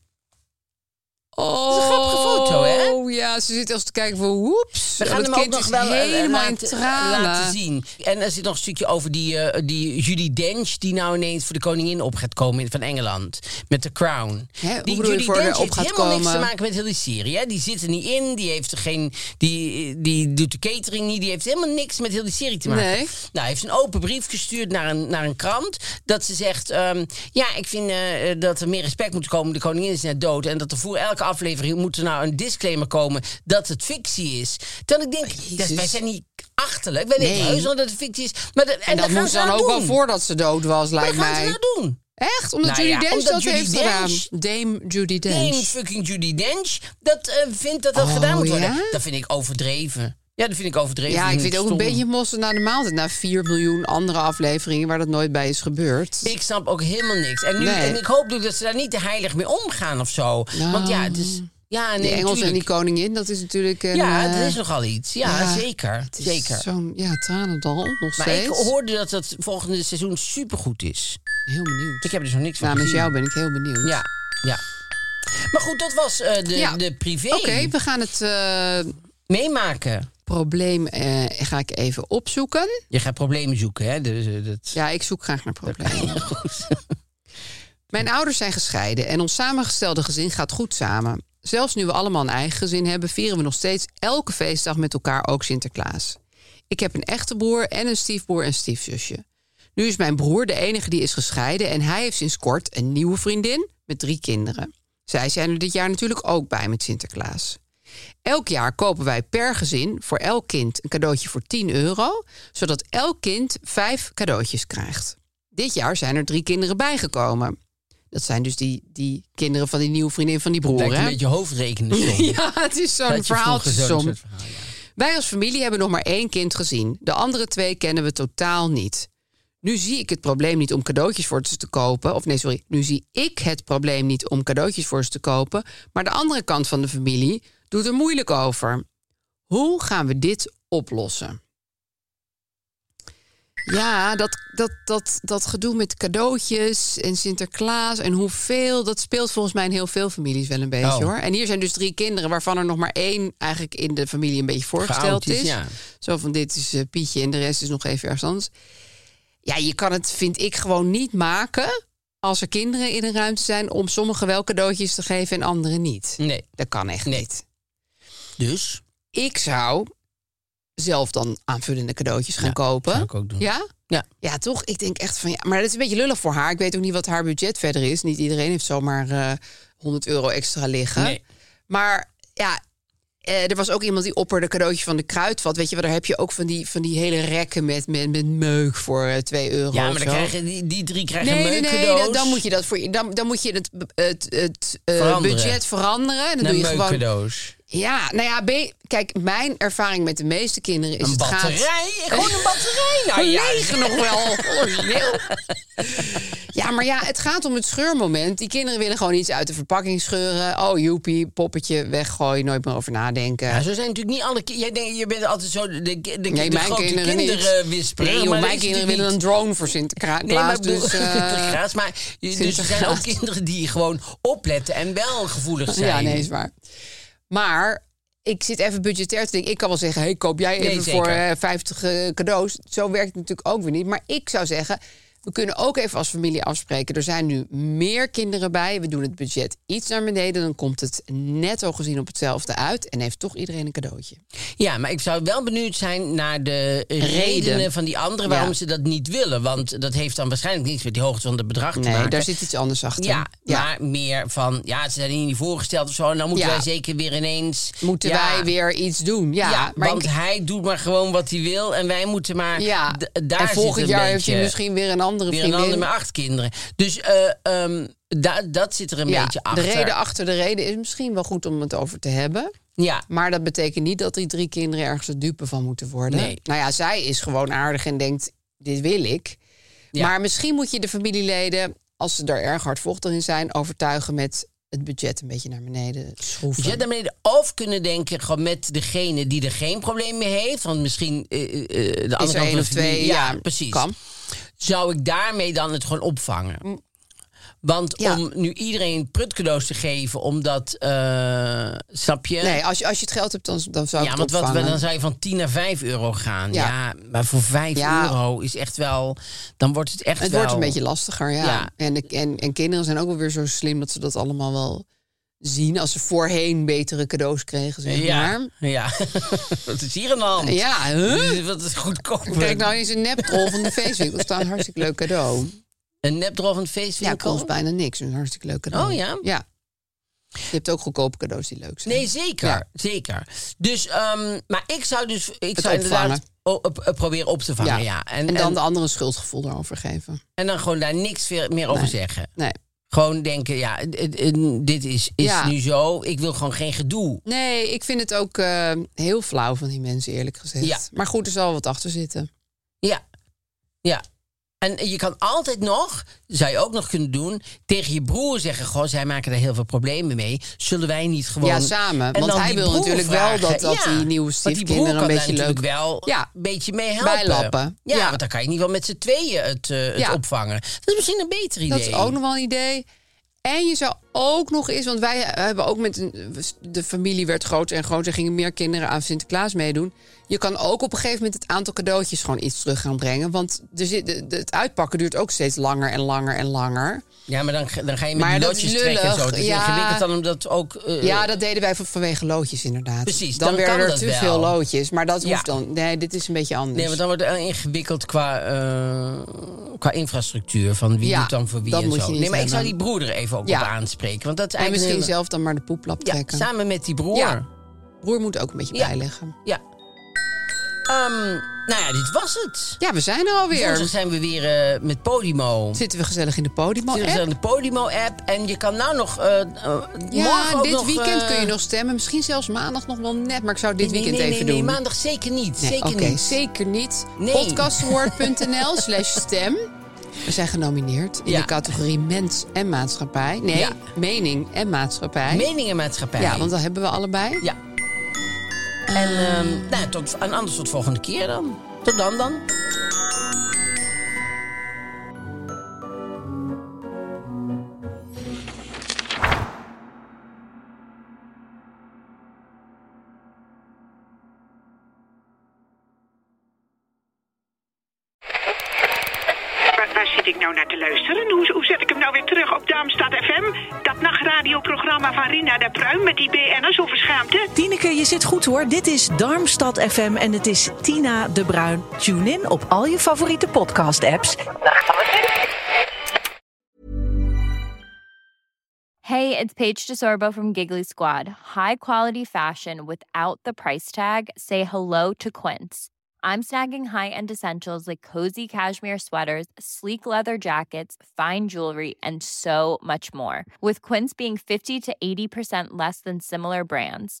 Speaker 4: Oh,
Speaker 3: is een grappige foto, hè?
Speaker 4: Oh ja, ze zit als te kijken van woeps.
Speaker 3: We gaan
Speaker 4: dat
Speaker 3: hem
Speaker 4: kind
Speaker 3: ook nog
Speaker 4: is
Speaker 3: wel eh,
Speaker 4: helemaal in
Speaker 3: laten,
Speaker 4: tranen.
Speaker 3: laten zien. En er zit nog een stukje over die, eh, die Judy Dench... die nou ineens voor de koningin op gaat komen in- van Engeland. Met de crown.
Speaker 4: Hè, hoe
Speaker 3: die
Speaker 4: bedoel je voor haar op
Speaker 3: heeft
Speaker 4: gaat
Speaker 3: helemaal niks te
Speaker 4: komen?
Speaker 3: maken met heel die serie. Hè? Die zit er niet in, die, heeft er geen, die, die doet de catering niet... die heeft helemaal niks met heel die serie te maken.
Speaker 4: Nee.
Speaker 3: Nou, hij heeft een open brief gestuurd naar een, naar een krant... dat ze zegt, ehm, ja, ik vind eh, eh, dat er meer respect moet komen... de koningin is net dood... en dat er voor elke aflevering moet er nou een disclaimer komen... dat het fictie is. Terwijl ik denk, dat, wij zijn niet achterlijk. Wij weten
Speaker 4: Nee.
Speaker 3: heus wel dat het fictie is. Maar dat, en, dat
Speaker 4: En dat
Speaker 3: gaan
Speaker 4: moest
Speaker 3: ze
Speaker 4: dan
Speaker 3: nou
Speaker 4: ook
Speaker 3: doen.
Speaker 4: wel voordat ze dood was,
Speaker 3: Maar
Speaker 4: lijkt
Speaker 3: dat gaan ze
Speaker 4: mij.
Speaker 3: nou doen.
Speaker 4: Echt? Omdat
Speaker 3: Nou
Speaker 4: Judy
Speaker 3: ja,
Speaker 4: Dench
Speaker 3: omdat
Speaker 4: dat
Speaker 3: Judi
Speaker 4: heeft
Speaker 3: Dench-
Speaker 4: gedaan. Dame Judy Dench.
Speaker 3: Dame fucking Judy Dench, dat eh, vindt dat dat
Speaker 4: Oh,
Speaker 3: gedaan moet worden.
Speaker 4: ja?
Speaker 3: Dat vind ik overdreven. Ja, dat vind ik overdreven.
Speaker 4: Ja, ik
Speaker 3: vind
Speaker 4: vind
Speaker 3: het
Speaker 4: ook een
Speaker 3: stom.
Speaker 4: beetje mossen na de maaltijd. Na 4 miljoen andere afleveringen waar dat nooit bij is gebeurd.
Speaker 3: Ik snap ook helemaal niks. En, nu,
Speaker 4: Nee. Nou.
Speaker 3: en ik hoop dus dat ze daar niet te heilig mee omgaan of zo. Want ja, het is... Ja,
Speaker 4: Die
Speaker 3: nee,
Speaker 4: Engels en die
Speaker 3: natuurlijk.
Speaker 4: koningin, dat is natuurlijk een...
Speaker 3: Ja,
Speaker 4: eh,
Speaker 3: er is nogal iets. Ja,
Speaker 4: ja,
Speaker 3: zeker.
Speaker 4: het is
Speaker 3: Zeker.
Speaker 4: Zo'n ja, tranendal nog
Speaker 3: Maar
Speaker 4: steeds.
Speaker 3: ik hoorde dat het volgende seizoen supergoed is.
Speaker 4: Heel benieuwd.
Speaker 3: Ik heb er dus nog niks van
Speaker 4: Namens
Speaker 3: gezien.
Speaker 4: Nou, jou ben ik heel benieuwd.
Speaker 3: Ja, ja. Maar goed, dat was eh, de,
Speaker 4: Ja.
Speaker 3: de privé
Speaker 4: Oké, we gaan het eh,
Speaker 3: meemaken.
Speaker 4: probleem eh, ga ik even opzoeken.
Speaker 3: Je gaat problemen zoeken, hè? Dus, eh, dat...
Speaker 4: Ja, ik zoek graag naar problemen. Mijn ouders zijn gescheiden en ons samengestelde gezin gaat goed samen. Zelfs nu we allemaal een eigen gezin hebben, vieren we nog steeds elke feestdag met elkaar ook Sinterklaas. Ik heb een echte broer en een stiefbroer en stiefzusje. Nu is mijn broer de enige die is gescheiden en hij heeft sinds kort een nieuwe vriendin met drie kinderen. Zij zijn er dit jaar natuurlijk ook bij met Sinterklaas. Elk jaar kopen wij per gezin voor elk kind een cadeautje voor 10 euro, zodat elk kind vijf cadeautjes krijgt. Dit jaar zijn er drie kinderen bijgekomen. Dat zijn dus die, die kinderen van die nieuwe vriendin van die broer.
Speaker 3: Lijkt een
Speaker 4: hè?
Speaker 3: beetje hoofdrekenen soms.
Speaker 4: <laughs> Ja, het is zo'n verhaaltjesom.
Speaker 3: verhaal, ja.
Speaker 4: Wij als familie hebben nog maar één kind gezien. De andere twee kennen we totaal niet. Nu zie ik het probleem niet om cadeautjes voor ze te kopen. Of nee, sorry. Nu zie ik het probleem niet om cadeautjes voor ze te kopen. Maar de andere kant van de familie doet er moeilijk over. Hoe gaan we dit oplossen? Ja, dat, dat, dat, dat gedoe met cadeautjes en Sinterklaas en hoeveel, dat speelt volgens mij in heel veel families wel een beetje
Speaker 3: Oh.
Speaker 4: hoor. En hier zijn dus drie kinderen waarvan er nog maar één eigenlijk in de familie een beetje voorgesteld
Speaker 3: Geout is,
Speaker 4: is.
Speaker 3: ja.
Speaker 4: Zo van dit is eh, Pietje en de rest is nog even ergens anders. Ja, je kan het, vind ik, gewoon niet maken als er kinderen in een ruimte zijn om sommigen wel cadeautjes te geven en anderen niet.
Speaker 3: Nee,
Speaker 4: Dat kan echt
Speaker 3: Nee.
Speaker 4: niet.
Speaker 3: dus
Speaker 4: Ik zou zelf dan aanvullende cadeautjes gaan kopen.
Speaker 3: zou ik ook doen.
Speaker 4: Ja?
Speaker 3: Ja.
Speaker 4: Ja, toch? Ik denk echt van ja. Maar dat is een beetje lullig voor haar. Ik weet ook niet wat haar budget verder is. Niet iedereen heeft zomaar eh 100 euro extra liggen.
Speaker 3: Nee.
Speaker 4: Maar ja, eh, er was ook iemand die opperde cadeautje van de kruidvat. Weet je wel, daar heb je ook van die, van die hele rekken met, met, met meuk voor eh, 2 euro.
Speaker 3: ja,
Speaker 4: of
Speaker 3: maar dan
Speaker 4: zo.
Speaker 3: krijgen die, die drie krijgen
Speaker 4: Nee,
Speaker 3: een
Speaker 4: nee,
Speaker 3: meuk
Speaker 4: nee, dan, dan moet je dat voor je- dan, dan moet je het, het, het eh,
Speaker 3: Veranderen.
Speaker 4: budget veranderen. En dan doe je
Speaker 3: een
Speaker 4: gewoon
Speaker 3: meukcadeaus.
Speaker 4: ja, nou ja, ben- kijk, mijn ervaring met de meeste kinderen is
Speaker 3: Een
Speaker 4: het
Speaker 3: batterij?
Speaker 4: gaat...
Speaker 3: Gewoon
Speaker 4: <laughs>
Speaker 3: een batterij? Nou ja.
Speaker 4: Gelegen nog wel. Origineel.
Speaker 3: <laughs>
Speaker 4: Ja, maar ja, het gaat om het scheurmoment. Die kinderen willen gewoon iets uit de verpakking scheuren. Oh, joepie, poppetje, weggooien, nooit meer over nadenken.
Speaker 3: Ja, zo zijn natuurlijk niet alle kinderen. Jij denkt, je bent altijd zo de, de, de,
Speaker 4: nee,
Speaker 3: de
Speaker 4: mijn
Speaker 3: grote
Speaker 4: kinderen,
Speaker 3: kinderen,
Speaker 4: niet.
Speaker 3: wisperen.
Speaker 4: Nee, joh,
Speaker 3: maar dat
Speaker 4: mijn
Speaker 3: is
Speaker 4: kinderen
Speaker 3: natuurlijk
Speaker 4: willen een
Speaker 3: niet.
Speaker 4: drone voor Sinterklaas.
Speaker 3: Nee, maar, <laughs> ik bedoel,
Speaker 4: dus, eh,
Speaker 3: Sinterklaas, maar je- dus er zijn ook
Speaker 4: Sinterklaas.
Speaker 3: kinderen die gewoon opletten en wel gevoelig zijn.
Speaker 4: Ja, nee, is waar. Maar ik zit even budgetair te denken. Ik kan wel zeggen, hey, koop jij
Speaker 3: Nee,
Speaker 4: even
Speaker 3: zeker.
Speaker 4: voor eh, 50 eh, cadeaus. Zo werkt het natuurlijk ook weer niet. Maar ik zou zeggen, we kunnen ook even als familie afspreken. Er zijn nu meer kinderen bij. We doen het budget iets naar beneden. Dan komt het netto gezien op hetzelfde uit. En heeft toch iedereen een cadeautje.
Speaker 3: Ja, maar ik zou wel benieuwd zijn naar de eh,
Speaker 4: Reden.
Speaker 3: redenen van die anderen waarom
Speaker 4: Ja.
Speaker 3: ze dat niet willen. Want dat heeft dan waarschijnlijk niets met die hoogte van het bedrag te
Speaker 4: Nee,
Speaker 3: maken.
Speaker 4: daar zit iets anders achter.
Speaker 3: ja, maar meer van, ja, ze zijn hier niet voorgesteld of zo. En dan moeten
Speaker 4: Ja.
Speaker 3: wij zeker weer ineens...
Speaker 4: Moeten
Speaker 3: ja,
Speaker 4: wij weer iets doen? Ja,
Speaker 3: Ja,
Speaker 4: maar
Speaker 3: want
Speaker 4: ik-
Speaker 3: hij doet maar gewoon wat hij wil en wij moeten maar...
Speaker 4: Ja,
Speaker 3: d- daar
Speaker 4: en
Speaker 3: zit
Speaker 4: volgend
Speaker 3: een
Speaker 4: jaar
Speaker 3: beetje-
Speaker 4: heeft hij misschien weer een andere
Speaker 3: Weer een
Speaker 4: vriendin.
Speaker 3: ander met acht kinderen. Dus eh, ehm, da- dat zit er een
Speaker 4: ja,
Speaker 3: beetje achter.
Speaker 4: De reden achter de reden is misschien wel goed om het over te hebben.
Speaker 3: Ja,
Speaker 4: Maar dat betekent niet dat die drie kinderen ergens de dupe van moeten worden.
Speaker 3: Nee.
Speaker 4: Nou ja, zij is gewoon aardig en denkt, dit wil ik.
Speaker 3: Ja.
Speaker 4: Maar misschien moet je de familieleden, als ze daar erg hardvochtig in zijn... overtuigen met het budget een beetje naar beneden schroeven.
Speaker 3: Dus je daarmee de of kunnen denken gewoon met degene die er geen probleem mee heeft. Want misschien eh, eh, eh, de andere
Speaker 4: is er
Speaker 3: kant van
Speaker 4: één
Speaker 3: de
Speaker 4: of twee,
Speaker 3: familie-
Speaker 4: ja,
Speaker 3: ja, precies.
Speaker 4: kan. Mm.
Speaker 3: Zou ik daarmee dan het gewoon opvangen? Want
Speaker 4: Ja.
Speaker 3: om nu iedereen prutcadeaus te geven, omdat, eh snap je?
Speaker 4: Nee, als je, als je het geld hebt, dan, dan zou ik
Speaker 3: ja,
Speaker 4: het
Speaker 3: want wat,
Speaker 4: opvangen.
Speaker 3: dan zou je van 10 naar 5 euro gaan.
Speaker 4: Ja.
Speaker 3: Ja, maar voor 5
Speaker 4: Ja.
Speaker 3: euro is echt wel... Dan wordt het echt
Speaker 4: Het
Speaker 3: wel...
Speaker 4: wordt een beetje lastiger, ja.
Speaker 3: Ja.
Speaker 4: En, de- en, en kinderen zijn ook wel weer zo slim dat ze dat allemaal wel zien. Als ze voorheen betere cadeaus kregen, zeg
Speaker 3: Ja,
Speaker 4: maar.
Speaker 3: ja. <laughs> wat is hier aan de hand?
Speaker 4: Ja,
Speaker 3: <laughs>
Speaker 4: huh?
Speaker 3: Wat is goedkoop?
Speaker 4: Kijk nou eens een neptrol van de feestwinkel. Dat is een hartstikke leuk cadeau.
Speaker 3: Een nepdrol van het
Speaker 4: Ja,
Speaker 3: feestwinkel?
Speaker 4: kost bijna niks. Een hartstikke leuk cadeau.
Speaker 3: Oh, ja?
Speaker 4: Ja. Je hebt ook goedkope cadeaus die leuk zijn.
Speaker 3: Nee, zeker.
Speaker 4: Ja.
Speaker 3: Zeker. Dus, ehm, maar ik zou dus... Ik
Speaker 4: Het
Speaker 3: zou
Speaker 4: opvangen.
Speaker 3: inderdaad o- op- op- proberen op te vangen, ja.
Speaker 4: En, dan de andere schuldgevoel erover geven.
Speaker 3: en dan gewoon daar niks meer meer over zeggen.
Speaker 4: Nee.
Speaker 3: Gewoon denken, ja, d- d- dit is, is
Speaker 4: Ja.
Speaker 3: nu zo. Ik wil gewoon geen gedoe.
Speaker 4: Nee, ik vind het ook eh, heel flauw van die mensen, eerlijk gezegd.
Speaker 3: Ja.
Speaker 4: Maar goed, er zal wat achter zitten.
Speaker 3: Ja. Ja. En je kan altijd nog, zou je ook nog kunnen doen, tegen je broer zeggen: Goh, zij maken daar heel veel problemen mee. Zullen wij niet gewoon.
Speaker 4: Ja, samen.
Speaker 3: En
Speaker 4: Want
Speaker 3: dan
Speaker 4: hij
Speaker 3: die
Speaker 4: wil
Speaker 3: broer
Speaker 4: natuurlijk wel dat- dat
Speaker 3: vragen.
Speaker 4: die nieuwe
Speaker 3: want
Speaker 4: stiefkinderen
Speaker 3: broer
Speaker 4: een
Speaker 3: kan daar
Speaker 4: beetje
Speaker 3: natuurlijk
Speaker 4: leuk-
Speaker 3: wel
Speaker 4: Ja.
Speaker 3: een beetje mee helpen.
Speaker 4: Bijlappen.
Speaker 3: Ja,
Speaker 4: Ja.
Speaker 3: want dan kan je niet wel met z'n tweeën het, eh, het
Speaker 4: Ja.
Speaker 3: opvangen. Dat is misschien een beter idee.
Speaker 4: Dat is ook nog wel een idee. En je zou ook nog eens, want wij hebben ook met een, de familie werd groter en groter, gingen meer kinderen aan Sinterklaas meedoen. Je kan ook op een gegeven moment het aantal cadeautjes gewoon iets terug gaan brengen, want er zit, de- de- het uitpakken duurt ook steeds langer en langer en langer.
Speaker 3: Ja, maar dan, ga- dan ga je met
Speaker 4: Maar
Speaker 3: die
Speaker 4: dat is
Speaker 3: lotjes trekken en zo. Het is
Speaker 4: lullig. Ja.
Speaker 3: ingewikkeld dan omdat ook. eh,
Speaker 4: Ja, dat deden wij van- vanwege loodjes inderdaad.
Speaker 3: Precies,
Speaker 4: dan,
Speaker 3: dan
Speaker 4: werden
Speaker 3: kan
Speaker 4: er
Speaker 3: dat
Speaker 4: te
Speaker 3: wel.
Speaker 4: veel loodjes, maar dat
Speaker 3: Ja.
Speaker 4: hoeft dan. Nee, dit is een beetje anders.
Speaker 3: Nee, want dan wordt het heel ingewikkeld qua, eh, qua infrastructuur. Van wie
Speaker 4: Ja,
Speaker 3: doet dan voor wie
Speaker 4: dat
Speaker 3: en
Speaker 4: moet
Speaker 3: zo.
Speaker 4: je niet
Speaker 3: nee, maar ik zou die
Speaker 4: hebben.
Speaker 3: broer er even ook
Speaker 4: Ja.
Speaker 3: op aanspreken. Want dat is
Speaker 4: en
Speaker 3: eigenlijk
Speaker 4: misschien
Speaker 3: een hele-
Speaker 4: zelf dan maar de poeplap
Speaker 3: Ja,
Speaker 4: trekken.
Speaker 3: samen met die broer.
Speaker 4: Ja. Broer moet ook een beetje
Speaker 3: Ja.
Speaker 4: bijleggen.
Speaker 3: Ja. Ehm, nou ja, dit was het.
Speaker 4: Ja, we zijn er
Speaker 3: Woensdag
Speaker 4: alweer.
Speaker 3: zijn we weer eh, met Podimo.
Speaker 4: Zitten we gezellig in de podium?
Speaker 3: Zitten we aan de Podimo-app. En je kan nou nog... eh, eh, morgen
Speaker 4: Ja,
Speaker 3: ook
Speaker 4: dit
Speaker 3: nog,
Speaker 4: weekend
Speaker 3: eh,
Speaker 4: kun je nog stemmen. Misschien zelfs maandag nog wel net. Maar ik zou dit
Speaker 3: nee,
Speaker 4: weekend
Speaker 3: nee, nee,
Speaker 4: even
Speaker 3: nee,
Speaker 4: doen.
Speaker 3: maandag zeker niet.
Speaker 4: Nee,
Speaker 3: zeker
Speaker 4: oké,
Speaker 3: niet.
Speaker 4: Zeker niet.
Speaker 3: Nee. <laughs>
Speaker 4: Podcastawards.nl slash stem. We zijn genomineerd in
Speaker 3: Ja.
Speaker 4: de categorie mens en maatschappij. Nee,
Speaker 3: Ja.
Speaker 4: mening en maatschappij.
Speaker 3: Meningenmaatschappij.
Speaker 4: ja, want dat hebben we allebei.
Speaker 3: Ja. En, ehm, nou, tot, en anders tot volgende keer dan. Tot dan dan.
Speaker 2: Waar, waar zit ik nou naar te luisteren? Hoe, hoe zet ik hem nou weer terug op Darmstad FM? Dat nachtradioprogramma van Rina de Pruim met die BN'ers over schaamte?
Speaker 5: Tineke, je zit goed hoor. Dit is Darmstad FM en het is Tina de Bruin. Tune in op al je favoriete podcast-apps
Speaker 6: Hey, it's Paige DeSorbo from Giggly Squad. High quality fashion without the price tag. Say hello to Quince. I'm snagging high-end essentials like cozy cashmere sweaters, sleek leather jackets, fine jewelry, and so much more. With Quince being 50 to 80% less than similar brands.